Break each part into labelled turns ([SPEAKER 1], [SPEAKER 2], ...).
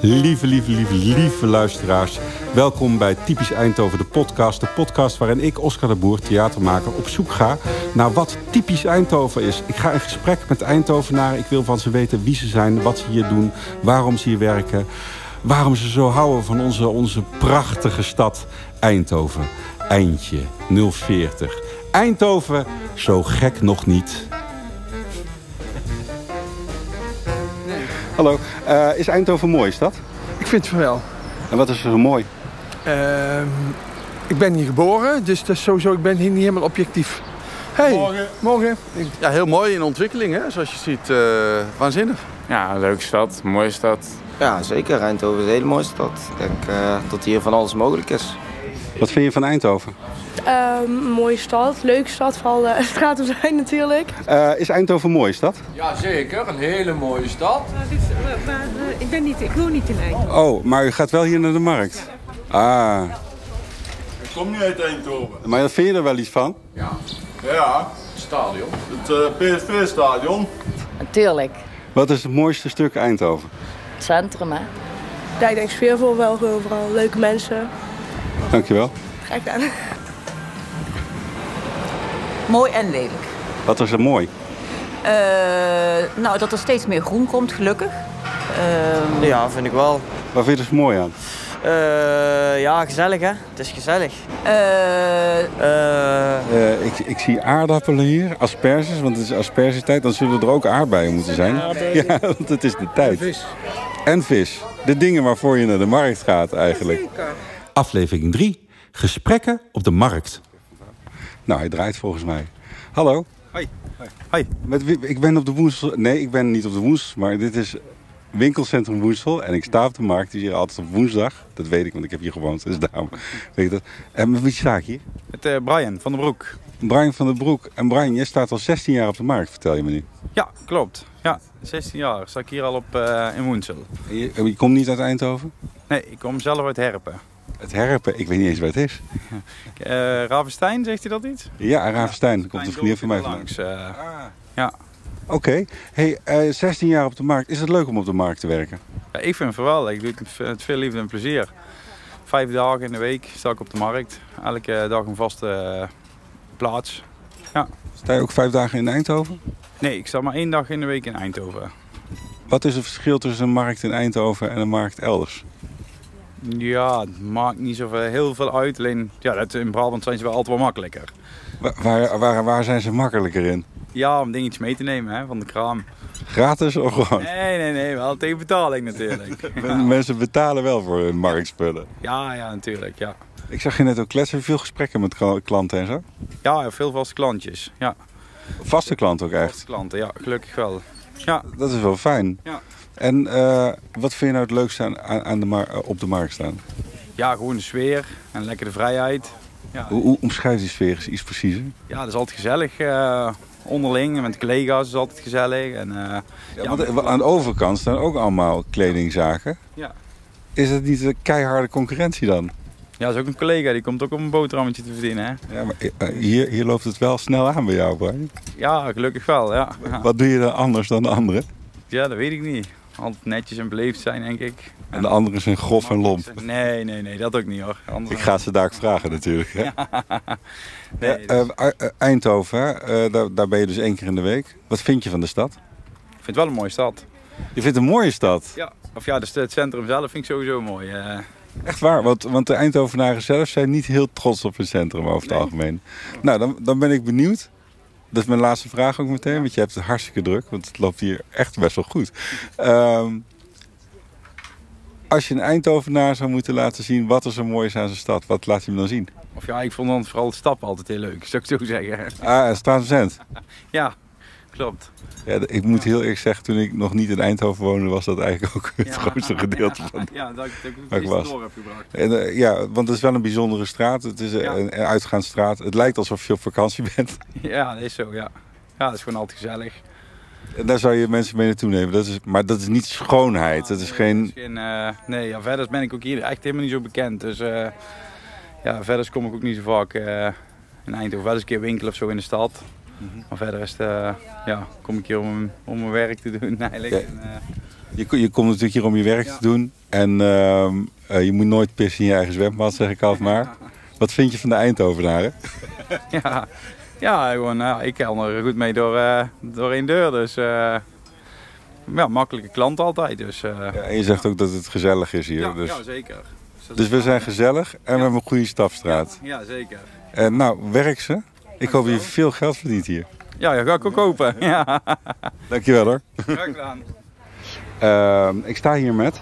[SPEAKER 1] Lieve, lieve, lieve, lieve luisteraars. Welkom bij Typisch Eindhoven, de podcast. De podcast waarin ik, Oscar de Boer, theatermaker, op zoek ga naar wat typisch Eindhoven is. Ik ga in gesprek met Eindhovenaren. Ik wil van ze weten wie ze zijn, wat ze hier doen, waarom ze hier werken. Waarom ze zo houden van onze, onze prachtige stad Eindhoven. Eindje 040. Eindhoven, zo gek nog niet. Hallo, eh, is Eindhoven een mooie stad?
[SPEAKER 2] Ik vind het wel.
[SPEAKER 1] En wat is er zo mooi?
[SPEAKER 2] Ehm, ik ben hier geboren, dus dat is sowieso, ik ben hier niet helemaal objectief. Hey, morgen. Ik-
[SPEAKER 3] Ja, heel mooi in ontwikkeling, hè? zoals je ziet. eh, waanzinnig.
[SPEAKER 4] Ja, leuke stad, mooie stad.
[SPEAKER 5] Ja, zeker. Eindhoven is een hele mooie stad. Ik denk eh, dat hier van alles mogelijk is.
[SPEAKER 1] Wat vind je van Eindhoven?
[SPEAKER 6] Ehm, mooie stad, leuke stad, vooral eh straten zijn natuurlijk.
[SPEAKER 1] Eh, is Eindhoven een mooie stad?
[SPEAKER 7] Ja, zeker. Een hele mooie stad.
[SPEAKER 8] Maar, dit is- maar, maar, eh, ik, ben niet, ik woon niet in Eindhoven.
[SPEAKER 1] Oh, maar u gaat wel hier naar de markt. Ah. Ik kom niet uit Eindhoven. Maar vind je er wel iets van?
[SPEAKER 7] Stadion.
[SPEAKER 1] eh,
[SPEAKER 9] Tuurlijk.
[SPEAKER 1] Wat is het mooiste stuk Eindhoven?
[SPEAKER 9] Het centrum, hè?
[SPEAKER 6] Ja, ik denk sfeervol wel gewoon vooral. Leuke mensen.
[SPEAKER 1] Dankjewel.
[SPEAKER 6] Ga ik aan.
[SPEAKER 10] Mooi en lelijk.
[SPEAKER 1] Wat is er mooi?
[SPEAKER 10] Eh, nou, dat er steeds meer groen komt, gelukkig. Eh,
[SPEAKER 11] Ja, vind ik wel.
[SPEAKER 1] Waar vind je het mooi aan?
[SPEAKER 11] Eh, ja, gezellig hè. Het is gezellig.
[SPEAKER 10] eh,
[SPEAKER 11] Eh,
[SPEAKER 1] Eh, ik, ik zie aardappelen hier, asperges, want het is aspergetijd. Dan zullen er ook aardbeien moeten zijn. Ja, want het is de tijd. En vis. De dingen waarvoor je naar de markt gaat eigenlijk. Aflevering 3. Gesprekken op de markt. Nou, hij draait volgens mij. Hallo. Hoi. Hoi. Met wie- ik ben op de Woensel. Nee, ik ben niet op de Woensel, maar dit is winkelcentrum Woensel. En ik sta op de markt. Die is hier altijd op woensdag. Dat weet ik, want ik heb hier gewoond. Dus daarom weet ik dat. En met wie sta ik hier?
[SPEAKER 12] Met eh, Brian van den Broek.
[SPEAKER 1] Brian van den Broek. En Brian, jij staat al 16 jaar op de markt, vertel je me nu.
[SPEAKER 12] Ja, klopt. Ja, 16 jaar. Sta ik hier al op eh, in Woensel.
[SPEAKER 1] En Je, je komt niet uit Eindhoven?
[SPEAKER 12] Nee, ik kom zelf uit Herpen.
[SPEAKER 1] Het Herpen, ik weet niet eens waar het is.
[SPEAKER 12] Eh Ravenstein, zegt hij dat iets?
[SPEAKER 1] Ja, Ravenstein, daar komt een
[SPEAKER 12] Klein
[SPEAKER 1] vriendin van mij
[SPEAKER 12] dorpje
[SPEAKER 1] vandaan.
[SPEAKER 12] langs. eh,
[SPEAKER 1] Oké, hey, eh, 16 jaar op de markt. Is het leuk om op de markt te werken?
[SPEAKER 12] ja, ik vind het geweldig. Ik doe het met veel liefde en plezier. Vijf dagen in de week sta ik op de markt. Elke dag een vaste eh, plaats.
[SPEAKER 1] Sta je ook vijf dagen in Eindhoven?
[SPEAKER 12] Nee, ik sta maar één dag in de week in Eindhoven.
[SPEAKER 1] Wat is het verschil tussen een markt in Eindhoven en een markt elders?
[SPEAKER 12] Ja, het maakt niet zoveel heel veel uit. Alleen ja, dat, in Brabant zijn ze wel altijd wel makkelijker.
[SPEAKER 1] Wa- Waar, waar, waar zijn ze makkelijker in?
[SPEAKER 12] Ja, om dingetjes mee te nemen hè, van de kraam.
[SPEAKER 1] Gratis of gewoon?
[SPEAKER 12] Nee, nee, nee, wel tegen betaling natuurlijk.
[SPEAKER 1] Men- Mensen betalen wel voor hun marktspullen.
[SPEAKER 12] Ja, ja, natuurlijk. Ja,
[SPEAKER 1] Ik zag je net ook kletsen, veel gesprekken met kla- klanten en zo.
[SPEAKER 12] ja veel vaste klantjes. Ja,
[SPEAKER 1] Vaste klanten ook echt.
[SPEAKER 12] vaste klanten. Ja, gelukkig wel.
[SPEAKER 1] Dat is wel fijn.
[SPEAKER 12] Ja.
[SPEAKER 1] En eh, wat vind je nou het leukste aan, aan aan de mar- op de markt staan?
[SPEAKER 12] Ja, gewoon de sfeer en lekker de vrijheid. Ja,
[SPEAKER 1] Hoe, hoe omschrijf je die sfeer eens iets preciezer?
[SPEAKER 12] ja dat is altijd gezellig. eh, onderling en met collega's is altijd gezellig. En, eh,
[SPEAKER 1] Ja, want eh, aan de overkant staan ook allemaal kledingzaken.
[SPEAKER 12] Ja.
[SPEAKER 1] Is het niet een keiharde concurrentie dan?
[SPEAKER 12] ja, dat is ook een collega die komt ook om een boterhammetje te verdienen. Hè?
[SPEAKER 1] Ja, maar eh, hier, hier loopt het wel snel aan bij jou, Brian.
[SPEAKER 12] Ja, gelukkig wel. Ja.
[SPEAKER 1] Wat doe je dan anders dan de anderen?
[SPEAKER 12] ja, dat weet ik niet. Altijd netjes en beleefd zijn, denk ik.
[SPEAKER 1] En de anderen zijn grof en lomp.
[SPEAKER 12] Nee, nee, nee, dat ook niet hoor. Anders...
[SPEAKER 1] Ik ga het ze daar ook vragen natuurlijk. Hè?
[SPEAKER 12] Nee, dus-
[SPEAKER 1] Eh,
[SPEAKER 12] dat-
[SPEAKER 1] eh, eh, Eindhoven, hè? Eh, daar, daar ben je dus één keer in de week. Wat vind je van de stad?
[SPEAKER 12] Ik vind het wel een mooie stad.
[SPEAKER 1] Je vindt het een mooie stad.
[SPEAKER 12] Ja. Of ja, dus het centrum zelf vind ik sowieso mooi. eh.
[SPEAKER 1] Echt waar, want, want de Eindhovenaren zelf zijn niet heel trots op hun centrum over het
[SPEAKER 12] Nee.
[SPEAKER 1] algemeen. Nou, dan, dan ben ik benieuwd. Dat is mijn laatste vraag ook meteen, want je hebt het hartstikke druk, want het loopt hier echt best wel goed. Ehm, als je een Eindhovenaar zou moeten laten zien wat er zo mooi is aan zijn stad, wat laat je hem dan zien?
[SPEAKER 12] Of ja, ik vond dan vooral het stappen altijd heel leuk, zou ik zo zeggen.
[SPEAKER 1] Ah, het Straatscent.
[SPEAKER 12] Ja, klopt.
[SPEAKER 1] Ja, d- ik moet heel eerlijk zeggen, toen ik nog niet in Eindhoven woonde, was dat eigenlijk ook het
[SPEAKER 12] Ja.
[SPEAKER 1] grootste gedeelte van
[SPEAKER 12] Ja, dat ik het
[SPEAKER 1] Waar ik was.
[SPEAKER 12] door heb gebracht.
[SPEAKER 1] En, eh, ja, want het is wel een bijzondere straat. Het is eh,
[SPEAKER 12] Ja.
[SPEAKER 1] een, een uitgaansstraat. Het lijkt alsof je op vakantie bent.
[SPEAKER 12] Ja, dat is zo, ja. Ja, dat is gewoon altijd gezellig.
[SPEAKER 1] En daar zou je mensen mee naartoe nemen. Dat is, maar dat is niet
[SPEAKER 12] Ah,
[SPEAKER 1] schoonheid. Dat is geen...
[SPEAKER 12] Misschien, eh, nee, ja, verder ben ik ook hier echt helemaal niet zo bekend. Dus eh, ja, verder kom ik ook niet zo vaak eh, in Eindhoven. Wel eens een keer winkelen of zo in de stad.
[SPEAKER 1] Mhm.
[SPEAKER 12] Maar verder is het, eh, ja, kom ik hier om, om mijn werk te doen eigenlijk.
[SPEAKER 1] Ja.
[SPEAKER 12] En, eh,
[SPEAKER 1] Je, ko- je komt natuurlijk hier om je werk te doen. En ehm, eh, je moet nooit pissen in je eigen zwembad, zeg ik altijd maar. Wat vind je van de Eindhovenaren?
[SPEAKER 13] ja. ja, gewoon, nou, ik kan er goed mee door, eh, door één deur. Dus eh, ja, makkelijke klant altijd. Dus, eh,
[SPEAKER 1] En je zegt ook dat het gezellig is hier.
[SPEAKER 13] ja,
[SPEAKER 1] dus.
[SPEAKER 13] ja, zeker. dat
[SPEAKER 1] dus we zijn gezellig en we hebben een goede stafstraat.
[SPEAKER 13] Ja, zeker.
[SPEAKER 1] En nou, werk ze. Ik hoop dat je veel geld verdient hier.
[SPEAKER 13] Ja, ja, ga ik ook kopen. Ja.
[SPEAKER 1] Dankjewel hoor.
[SPEAKER 13] Graag gedaan.
[SPEAKER 1] Ehm, ik sta hier met.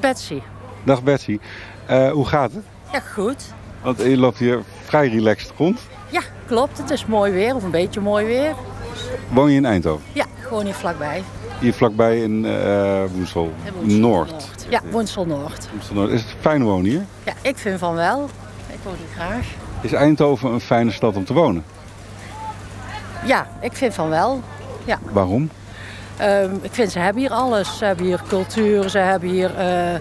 [SPEAKER 14] Betsy.
[SPEAKER 1] Dag Betsy. Eh, hoe gaat het?
[SPEAKER 14] Ja, goed.
[SPEAKER 1] Want je loopt hier vrij relaxed rond.
[SPEAKER 14] Ja, klopt. Het is mooi weer, of een beetje mooi weer.
[SPEAKER 1] Woon je in Eindhoven?
[SPEAKER 14] Ja, gewoon hier vlakbij.
[SPEAKER 1] Hier vlakbij in eh Woensel.
[SPEAKER 14] In Woensel
[SPEAKER 1] Noord.
[SPEAKER 14] Ja, Woensel Noord.
[SPEAKER 1] Woensel Noord. Is het fijn wonen hier?
[SPEAKER 14] Ja, ik vind van wel. Ik woon hier graag.
[SPEAKER 1] Is Eindhoven een fijne stad om te wonen?
[SPEAKER 14] Ja, ik vind van wel. Ja.
[SPEAKER 1] Waarom?
[SPEAKER 14] Ehm, ik vind ze hebben hier alles. Ze hebben hier cultuur, ze hebben hier eh, eh,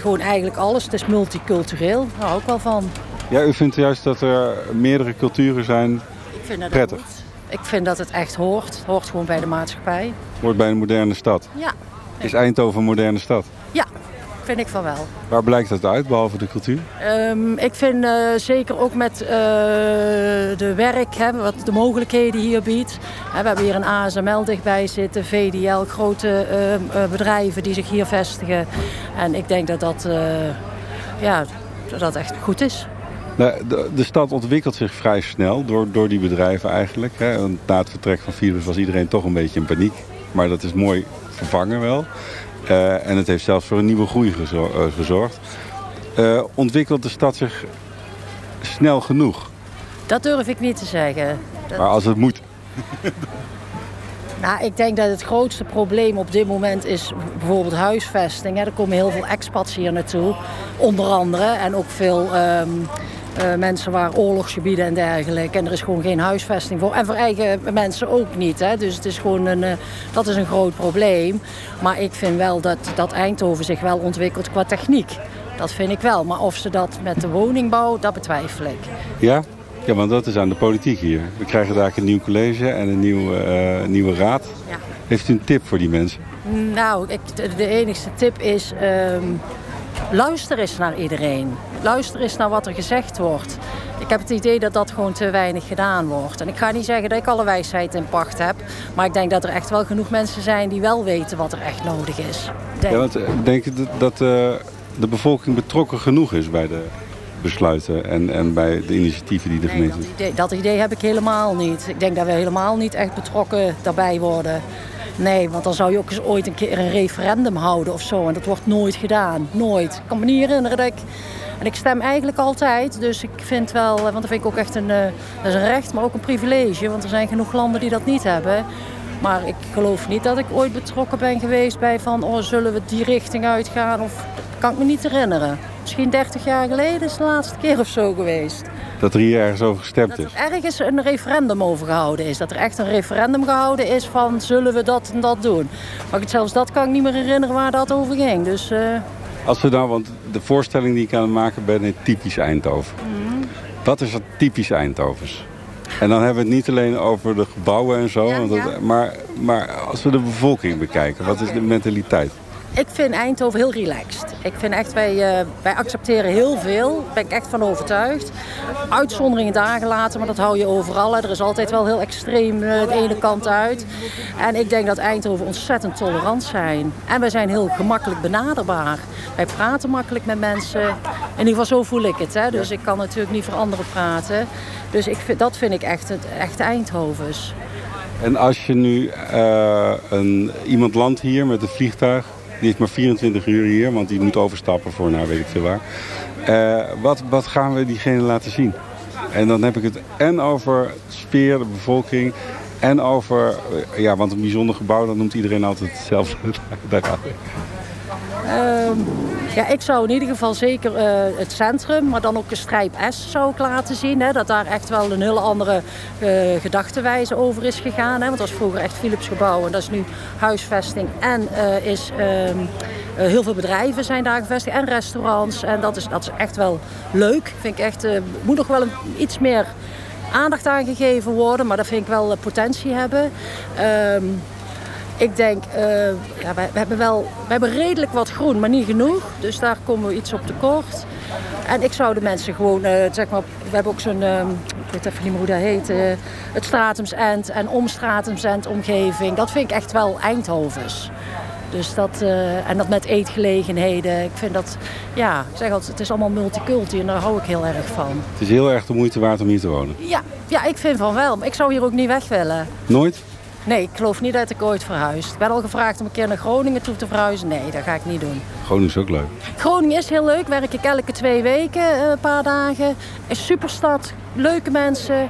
[SPEAKER 14] gewoon eigenlijk alles. Het is multicultureel. Daar hou ik wel van.
[SPEAKER 1] Ja, u vindt juist dat er meerdere culturen zijn
[SPEAKER 14] Ik vind dat ook
[SPEAKER 1] prettig.
[SPEAKER 14] goed. Ik vind dat het echt hoort. Het hoort gewoon bij de maatschappij.
[SPEAKER 1] Hoort bij een moderne stad.
[SPEAKER 14] Ja,
[SPEAKER 1] Is Eindhoven een moderne stad?
[SPEAKER 14] ja, vind ik van wel.
[SPEAKER 1] Waar blijkt dat uit, behalve de cultuur?
[SPEAKER 14] Ehm, ik vind eh, zeker ook met eh, de werk, hè, wat de mogelijkheden hier biedt. Hè, we hebben hier een ASML dichtbij zitten, VDL, grote ehm, eh, bedrijven die zich hier vestigen. En ik denk dat dat, eh, ja, dat dat echt goed is.
[SPEAKER 1] Nou, de, de stad ontwikkelt zich vrij snel door, door die bedrijven eigenlijk. Hè. Want Na het vertrek van virus was iedereen toch een beetje in paniek. Maar dat is mooi vervangen wel. Eh, en het heeft zelfs voor een nieuwe groei gezo- eh, gezorgd. Eh, ontwikkelt de stad zich snel genoeg?
[SPEAKER 14] Dat durf ik niet te zeggen. Dat-
[SPEAKER 1] Maar als het moet.
[SPEAKER 14] Nou, ik denk dat het grootste probleem op dit moment is bijvoorbeeld huisvesting. Hè. Er komen heel veel expats hier naartoe, onder andere. En ook veel ehm, eh, mensen waar oorlogsgebieden en dergelijke. En er is gewoon geen huisvesting voor. En voor eigen mensen ook niet. Hè. Dus het is gewoon een, eh, dat is een groot probleem. Maar ik vind wel dat, dat Eindhoven zich wel ontwikkelt qua techniek. Dat vind ik wel. Maar of ze dat met de woningbouw, dat betwijfel ik.
[SPEAKER 1] Ja? Ja, want dat is aan de politiek hier. We krijgen daar een nieuw college en een nieuwe, eh, nieuwe raad.
[SPEAKER 14] Ja.
[SPEAKER 1] Heeft u een tip voor die mensen?
[SPEAKER 14] Nou, ik, de- de enige tip is. ehm, luister eens naar iedereen. Luister eens naar wat er gezegd wordt. Ik heb het idee dat dat gewoon te weinig gedaan wordt. En ik ga niet zeggen dat ik alle wijsheid in pacht heb. Maar ik denk dat er echt wel genoeg mensen zijn die wel weten wat er echt nodig is. Denk.
[SPEAKER 1] Ja, want eh, denk je dat- dat eh, de bevolking betrokken genoeg is bij de besluiten en, en bij de initiatieven die de gemeente doet?
[SPEAKER 14] idee- dat idee heb ik helemaal niet. Ik denk dat we helemaal niet echt betrokken daarbij worden. Nee, want dan zou je ook eens ooit een keer een referendum houden of zo. En dat wordt nooit gedaan. Nooit. Ik kan me niet herinneren dat ik... En ik stem eigenlijk altijd, dus ik vind wel... Want dat vind ik ook echt een, eh, dat is een recht, maar ook een privilege. Want er zijn genoeg landen die dat niet hebben. Maar ik geloof niet dat ik ooit betrokken ben geweest bij van... Oh, zullen we die richting uitgaan? Of, dat kan ik me niet herinneren. Misschien 30 jaar geleden is de laatste keer of zo geweest.
[SPEAKER 1] Dat er hier ergens over gestemd is.
[SPEAKER 14] Ergens een referendum over gehouden is. Dat er echt een referendum gehouden is van zullen we dat en dat doen. Maar ik- zelfs dat kan ik niet meer herinneren waar dat over ging. Dus eh,
[SPEAKER 1] Als we nou, want de voorstelling die ik aan het maken ben, is typisch Eindhoven.
[SPEAKER 14] mm.
[SPEAKER 1] Wat is dat typisch Eindhovens? En dan hebben we het niet alleen over de gebouwen en zo, want dat- maar, maar als we de bevolking bekijken, wat is de mentaliteit?
[SPEAKER 14] ik vind Eindhoven heel relaxed. Ik vind echt, wij, eh, wij accepteren heel veel. Daar ben ik echt van overtuigd. Uitzonderingen daar gelaten, maar dat hou je overal. hè. Er is altijd wel heel extreem eh, de ene kant uit. En ik denk dat Eindhoven ontzettend tolerant zijn. En wij zijn heel gemakkelijk benaderbaar. Wij praten makkelijk met mensen. In ieder geval zo voel ik het. Hè? Dus ik kan natuurlijk niet voor anderen praten. Dus ik vind, dat vind ik echt, het- echt Eindhovens.
[SPEAKER 1] En als je nu eh, een, iemand landt hier met een vliegtuig, die heeft maar 24 uur hier, want die moet overstappen voor nou weet ik veel waar. Eh, wat, wat gaan we diegene laten zien? En dan heb ik het en over sfeer, de bevolking, en over, eh, ja, want een bijzonder gebouw, dat noemt iedereen altijd hetzelfde. Daar gaat het.
[SPEAKER 14] Ehm, ja, ik zou in ieder geval zeker eh, het centrum, maar dan ook een strijp S zou ik laten zien. Hè, dat daar echt wel een hele andere eh gedachtewijze over is gegaan. Hè, want dat was vroeger echt Philips gebouw en dat is nu huisvesting. En eh, is, ehm, eh, heel veel bedrijven zijn daar gevestigd en restaurants. En dat is, dat is echt wel leuk. Vind ik echt, eh, moet nog wel een, iets meer aandacht aan gegeven worden. Maar dat vind ik wel eh, potentie hebben. Ehm, Ik denk, eh, ja, wij, we hebben wel we hebben redelijk wat groen, maar niet genoeg. Dus daar komen we iets op tekort. En ik zou de mensen gewoon, eh, zeg maar, we hebben ook zo'n, eh, ik weet even niet meer hoe dat heet, eh, het Stratumsend en om Stratumsend omgeving. Dat vind ik echt wel Eindhovens. Dus dat, eh, en dat met eetgelegenheden. Ik vind dat, ja, ik zeg altijd, het is allemaal multiculti en daar hou ik heel erg van.
[SPEAKER 1] Het is heel erg de moeite waard om hier te wonen.
[SPEAKER 14] Ja, ja, ik vind van wel. Maar ik zou hier ook niet weg willen.
[SPEAKER 1] Nooit?
[SPEAKER 14] Nee, ik geloof niet dat ik ooit verhuis. Ik ben al gevraagd om een keer naar Groningen toe te verhuizen. Nee, dat ga ik niet doen.
[SPEAKER 1] Groningen is ook leuk.
[SPEAKER 14] Groningen is heel leuk. Werk ik elke twee weken eh, een paar dagen. Een superstad, leuke mensen.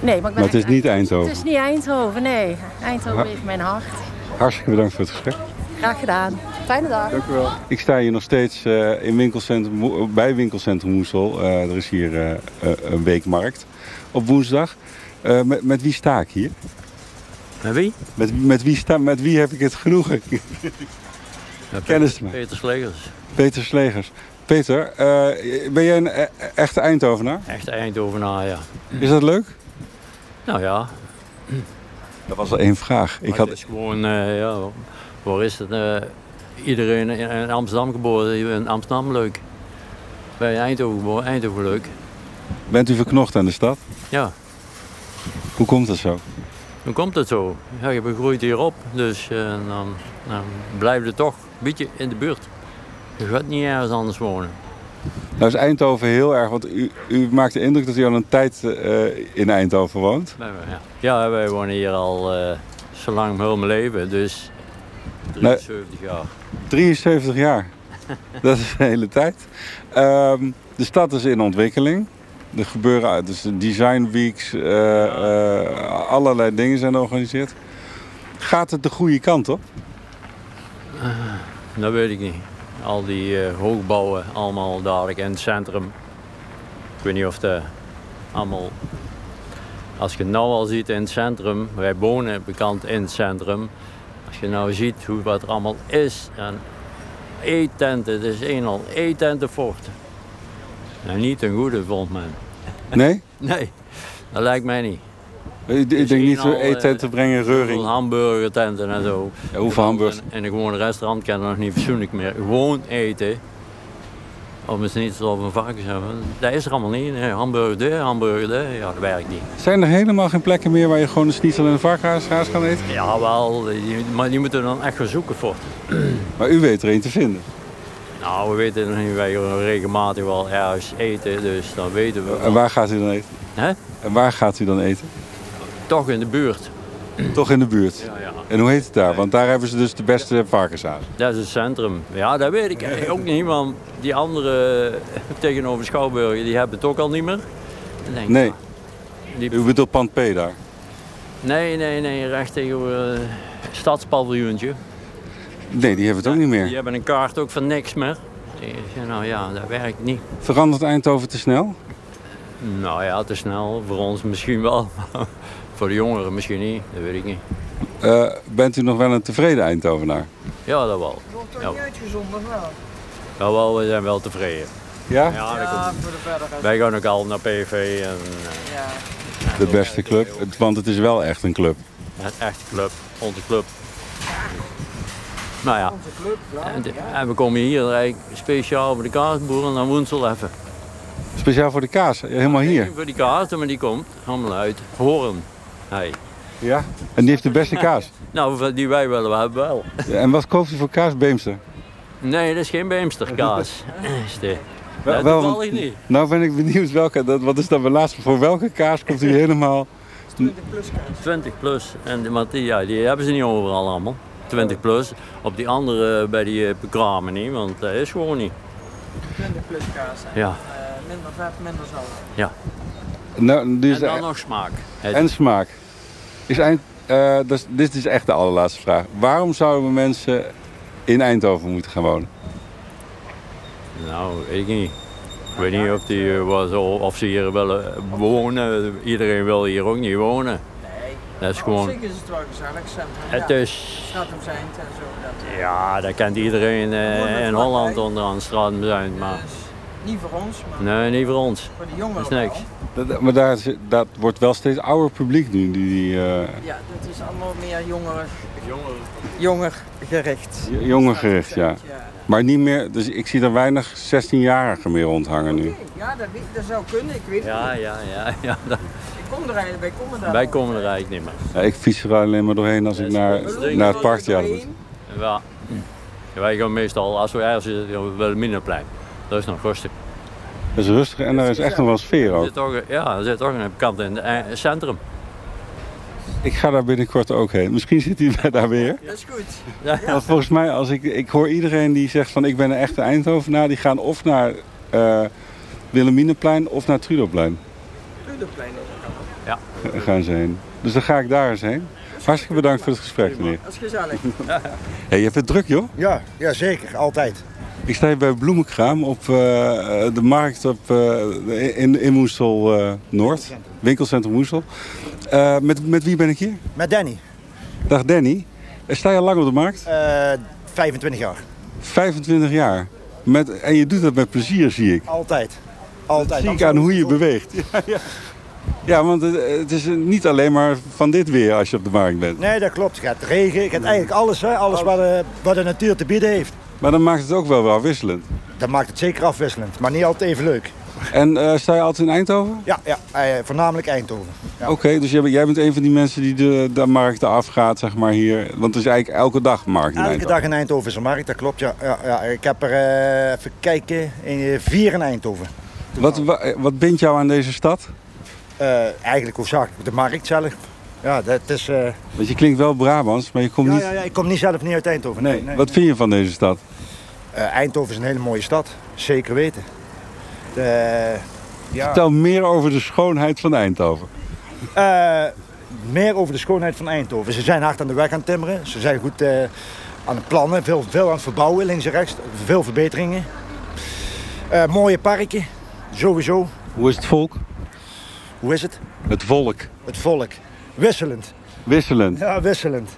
[SPEAKER 14] Nee, maar, ik ben
[SPEAKER 1] Maar het is niet Eindhoven.
[SPEAKER 14] Het is niet Eindhoven, nee. Eindhoven
[SPEAKER 1] Maar-
[SPEAKER 14] heeft mijn hart.
[SPEAKER 1] Hartstikke bedankt voor het gesprek.
[SPEAKER 14] Graag gedaan. Fijne dag.
[SPEAKER 1] Dank u wel. Ik sta hier nog steeds eh, in winkelcentrum, Mo- bij winkelcentrum Moesel. Eh, er is hier eh, eh, een weekmarkt op woensdag. Eh, met, met wie sta ik hier?
[SPEAKER 15] Met wie?
[SPEAKER 1] Met, met, wie, sta, met wie heb ik het genoegen? Kennis me.
[SPEAKER 15] Peter Slegers,
[SPEAKER 1] Peter Slegers. Peter, eh, ben jij een e- echte Eindhovenaar?
[SPEAKER 15] echt Eindhovenaar, ja.
[SPEAKER 1] Is dat leuk?
[SPEAKER 15] Nou ja,
[SPEAKER 1] Dat was één vraag. Ik
[SPEAKER 15] maar het
[SPEAKER 1] had,
[SPEAKER 15] is gewoon, eh, ja, waar is het? eh, iedereen in, in Amsterdam geboren, je bent in Amsterdam leuk. Bij Eindhoven geboren, Eindhoven leuk.
[SPEAKER 1] bent u verknocht aan de stad?
[SPEAKER 15] Ja,
[SPEAKER 1] Hoe komt dat zo?
[SPEAKER 15] dan komt het zo. Ja, je bent gegroeid hierop, dus eh, dan, dan blijf je toch een beetje in de buurt. Je gaat niet ergens anders wonen.
[SPEAKER 1] Nou is Eindhoven heel erg, want u, u maakt de indruk dat u al een tijd eh, in Eindhoven woont.
[SPEAKER 15] Bij mij, ja. Ja, wij wonen hier al eh, zo lang heel mijn leven, dus 73 jaar.
[SPEAKER 1] 73 jaar. Dat is de hele tijd. Ehm, de stad is in ontwikkeling. Er gebeuren dus design weeks, eh, eh, allerlei dingen zijn georganiseerd. Gaat het de goede kant op?
[SPEAKER 13] Ah.
[SPEAKER 15] Dat weet ik niet. Al die eh, hoogbouwen allemaal dadelijk in het centrum. Ik weet niet of dat allemaal... Als je nou al ziet in het centrum, wij wonen bekend in het centrum. Als je nou ziet hoe wat er allemaal is. En eetenten, het is een al eetentenvocht. En niet een goede, vond men.
[SPEAKER 1] Nee?
[SPEAKER 15] Nee, dat lijkt mij niet. eh,
[SPEAKER 1] Ik, ik denk niet zo eten te brengen, reuring.
[SPEAKER 15] Hamburgertenten en zo.
[SPEAKER 1] hoeveel hamburgers?
[SPEAKER 15] En een gewone restaurant kan nog niet fatsoenlijk meer. Gewoon eten. Of misschien iets of een varkens hebben. Dat is er allemaal niet. Nee, hamburger de, hamburger de. Ja, dat werkt niet.
[SPEAKER 1] Zijn er helemaal geen plekken meer waar je gewoon een schnitzel en een varkens kan eten?
[SPEAKER 15] Ja, wel. die- Maar die moeten we dan echt gaan zoeken voor.
[SPEAKER 1] Maar u weet er één te vinden.
[SPEAKER 15] Nou, we weten nog niet. Wij gaan regelmatig wel ergens eten. Dus dan weten we.
[SPEAKER 1] En waar gaat u dan eten?
[SPEAKER 15] Hè?
[SPEAKER 1] En waar gaat u dan eten?
[SPEAKER 15] Toch in de buurt.
[SPEAKER 1] Toch in de buurt.
[SPEAKER 15] ja.
[SPEAKER 1] En hoe heet het daar? Want daar hebben ze dus de beste varkensaus.
[SPEAKER 15] Dat is het centrum. Ja, dat weet ik eigenlijk ook niet, want die andere eh, tegenover Schouwburg, die hebben het ook al niet meer. Dan denk ik,
[SPEAKER 1] Nee. U bedoelt Pand P daar.
[SPEAKER 15] Nee, nee, nee, recht tegenover eh, stadspaviljoentje.
[SPEAKER 1] Nee, die hebben het ook niet
[SPEAKER 15] Die
[SPEAKER 1] meer.
[SPEAKER 15] hebben een kaart ook van niks meer. Ik zeg, Nou ja, dat werkt niet.
[SPEAKER 1] Verandert Eindhoven te snel?
[SPEAKER 15] Nou ja, te snel. Voor ons misschien wel. maar voor de jongeren misschien niet, dat weet ik niet.
[SPEAKER 1] Eh, bent u nog wel een tevreden Eindhovenaar?
[SPEAKER 15] Ja, dat wel. Ja,
[SPEAKER 16] uitgezonden wel.
[SPEAKER 15] Nou, wel, we zijn wel tevreden.
[SPEAKER 1] Ja?
[SPEAKER 15] ja dat
[SPEAKER 16] Ja,
[SPEAKER 15] komt.
[SPEAKER 16] voor de verder.
[SPEAKER 15] Wij gaan ook al naar PV en... eh,
[SPEAKER 1] De beste club? Het- Want het is wel echt een club.
[SPEAKER 15] Een echte club, onze club. Nou ja, en, de- en we komen hier eigenlijk speciaal voor de kaasboeren naar Woensel even.
[SPEAKER 1] Speciaal voor de kaas, helemaal hier.
[SPEAKER 15] Voor die kaas, maar die komt allemaal uit Hoorn. Hey.
[SPEAKER 1] Ja? En die heeft de beste kaas.
[SPEAKER 15] Nou, die wij willen, we hebben wel.
[SPEAKER 1] Ja, En wat koopt u voor kaas, Beemster?
[SPEAKER 15] Nee, dat is geen Beemsterkaas. Eh, Is die.
[SPEAKER 1] Wel-
[SPEAKER 15] Dat
[SPEAKER 1] wel,
[SPEAKER 15] toevallig
[SPEAKER 1] want-
[SPEAKER 15] niet.
[SPEAKER 1] Nou ben ik benieuwd welke, dat, wat is dan mijn laatste, voor welke kaas komt u helemaal?
[SPEAKER 15] 20 plus. En, die- want die, ja, die hebben ze niet overal allemaal. 20 plus. Op die andere, bij die eh, bekramen niet, want dat is gewoon niet.
[SPEAKER 16] Minder pluskaas. en,
[SPEAKER 15] Ja.
[SPEAKER 16] eh, minder vet, minder zout.
[SPEAKER 15] Ja.
[SPEAKER 1] Nou,
[SPEAKER 15] en
[SPEAKER 1] dus
[SPEAKER 15] dan nog smaak. Het-
[SPEAKER 1] En smaak. Is Eind, eh, dat is- dit is echt de allerlaatste vraag. Waarom zouden mensen in Eindhoven moeten gaan wonen?
[SPEAKER 15] Nou, weet ik niet. Ik weet niet of, die, eh, was, of ze hier willen wonen. Iedereen wil hier ook niet wonen. Nee. Dat is
[SPEAKER 16] Nou, Op
[SPEAKER 15] gewoon...
[SPEAKER 16] zich is het wel gezellig centrum.
[SPEAKER 15] Het
[SPEAKER 16] ja.
[SPEAKER 15] is-
[SPEAKER 16] Stratum Zijnd en zo. Dat.
[SPEAKER 15] Ja, dat kent iedereen eh, in Holland onderaan straat zijn. Maar
[SPEAKER 16] Niet voor ons, maar
[SPEAKER 15] Nee, niet voor ons.
[SPEAKER 16] voor de jongeren.
[SPEAKER 15] Dat is niks.
[SPEAKER 1] Dat- maar daar, is- dat wordt wel steeds ouder publiek nu. Die, die, eh,
[SPEAKER 16] wel. Ja, dat is allemaal meer jongeren. Jongergericht.
[SPEAKER 1] Jongergericht, ja. Maar niet meer, dus ik zie er weinig 16-jarigen meer rondhangen nu.
[SPEAKER 16] Ja, dat, weet- dat zou kunnen, ik weet
[SPEAKER 15] Ja,
[SPEAKER 16] het niet.
[SPEAKER 15] ja, ja. ja dat-
[SPEAKER 16] Ik kom er eigenlijk, wij komen daar.
[SPEAKER 15] wij
[SPEAKER 16] al.
[SPEAKER 15] komen er eigenlijk niet meer.
[SPEAKER 1] Ja, ik fiets er alleen maar doorheen als ik naar, naar het park ja, dat-
[SPEAKER 15] Ja. Ja, Wij gaan meestal, als we ergens zitten, wel minder plein. Dat is nog rustig.
[SPEAKER 1] Dat is rustig en er is echt nog wel sfeer
[SPEAKER 15] Er
[SPEAKER 1] ook.
[SPEAKER 15] zit toch, ja, er zit toch een kant in het eh, centrum.
[SPEAKER 1] Ik ga daar binnenkort ook heen. Misschien zit hij mij daar weer.
[SPEAKER 16] Dat is goed.
[SPEAKER 1] Want volgens mij, als ik, ik hoor iedereen die zegt van ik ben een echte Eindhovenaar, die gaan of naar eh Wilhelminaplein of naar Trudoplein
[SPEAKER 16] Ruderplein is ook al.
[SPEAKER 15] Ja.
[SPEAKER 1] eh, gaan ze heen. Dus dan ga ik daar eens heen. Hartstikke bedankt voor het gesprek, meneer.
[SPEAKER 16] Dat is gezellig.
[SPEAKER 1] Hey, je hebt het druk, joh?
[SPEAKER 17] Ja, ja zeker, altijd.
[SPEAKER 1] Ik sta hier bij Bloemenkraam op eh, eh, de markt op, eh, in, in Moesel eh, Noord, winkelcentrum Moesel. Eh, met, met wie ben ik hier?
[SPEAKER 17] Met Danny.
[SPEAKER 1] Dag Danny. Eh, Sta je al lang op de markt?
[SPEAKER 17] Eh, 25 jaar.
[SPEAKER 1] 25 jaar. Met, en je doet dat met plezier, zie ik.
[SPEAKER 17] Altijd. Altijd.
[SPEAKER 1] Zie ik aan hoe je beweegt. Ja, ja. ja want het, het is niet alleen maar van dit weer als je op de markt bent.
[SPEAKER 17] Nee, dat klopt. Je hebt regen, je hebt eigenlijk alles, hè? alles wat de, wat de natuur te bieden heeft.
[SPEAKER 1] Maar dan maakt het ook wel wel wisselend.
[SPEAKER 17] Dat maakt het zeker afwisselend, maar niet altijd even leuk.
[SPEAKER 1] En eh, sta je altijd in Eindhoven?
[SPEAKER 17] Ja, ja eh, voornamelijk Eindhoven. Ja.
[SPEAKER 1] Oké, dus jij, bent- jij bent een van die mensen die de, de markten afgaat, zeg maar hier. Want het is eigenlijk elke dag markt in
[SPEAKER 17] Elke
[SPEAKER 1] Eindhoven.
[SPEAKER 17] dag in Eindhoven is een markt, dat klopt. Ja, ja, ja. Ik heb er, eh, even kijken, eh, vier in Eindhoven.
[SPEAKER 1] Wat, wa- eh, wat bindt jou aan deze stad?
[SPEAKER 17] Eh, eigenlijk hoofdzakelijk de markt zelf. Ja, dat is... eh,
[SPEAKER 1] Want je klinkt wel Brabants, maar je komt
[SPEAKER 17] ja,
[SPEAKER 1] niet...
[SPEAKER 17] ja, ja, ik kom niet zelf niet uit Eindhoven. Nee, nee.
[SPEAKER 1] Wat vind je van deze stad?
[SPEAKER 17] Eh, Eindhoven is een hele mooie stad, zeker weten. De, ja.
[SPEAKER 1] Vertel meer over de schoonheid van Eindhoven.
[SPEAKER 17] Eh, meer over de schoonheid van Eindhoven. Ze zijn hard aan de weg aan het timmeren. Ze zijn goed eh, aan het plannen. Veel, veel aan het verbouwen, links en rechts. Veel verbeteringen. Eh, mooie parken, sowieso.
[SPEAKER 1] Hoe is het volk?
[SPEAKER 17] Hoe is het?
[SPEAKER 1] Het volk.
[SPEAKER 17] Het volk. Wisselend.
[SPEAKER 1] Wisselend.
[SPEAKER 17] Ja, wisselend.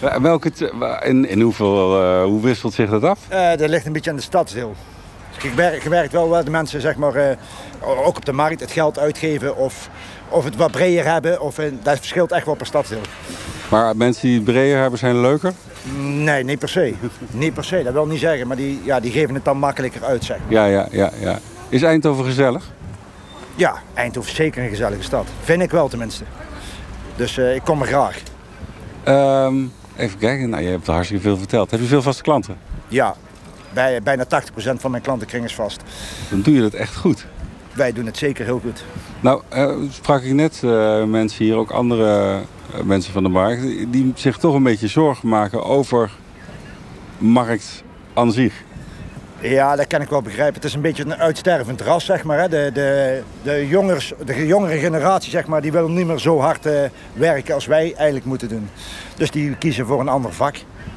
[SPEAKER 1] Wa- Welke t- wa- in, in hoeveel, eh, hoe wisselt zich dat af?
[SPEAKER 17] Eh, dat ligt een beetje aan de stadsdeel. Dus je, merkt, je merkt wel waar de mensen zeg maar, eh, ook op de markt het geld uitgeven of, of het wat breder hebben. Of, eh, dat verschilt echt wel per stadsdeel.
[SPEAKER 1] Maar mensen die het breder hebben zijn leuker.
[SPEAKER 17] Nee, niet per se. niet per se, dat wil niet zeggen. Maar die, ja, die geven het dan makkelijker uit, zeg maar.
[SPEAKER 1] Ja, ja, ja, ja. Is Eindhoven gezellig?
[SPEAKER 17] Ja, Eindhoven is zeker een gezellige stad. Vind ik wel tenminste. Dus eh, ik kom er graag.
[SPEAKER 1] Ehm, even kijken, nou, je hebt er hartstikke veel verteld. Heb je veel vaste klanten?
[SPEAKER 17] Ja, bij, bijna 80% van mijn klantenkring is vast.
[SPEAKER 1] Dan doe je dat echt goed.
[SPEAKER 17] Wij doen het zeker heel goed.
[SPEAKER 1] Nou, eh, sprak ik net eh, mensen hier, ook andere eh, mensen van de markt, die- die zich toch een beetje zorgen maken over markt aan zich.
[SPEAKER 17] Ja, dat kan ik wel begrijpen. Het is een beetje een uitstervend ras, zeg maar. Hè. De, de, de, jongers, de jongere generatie, zeg maar, die wil niet meer zo hard eh, werken als wij eigenlijk moeten doen. Dus die kiezen voor een ander vak.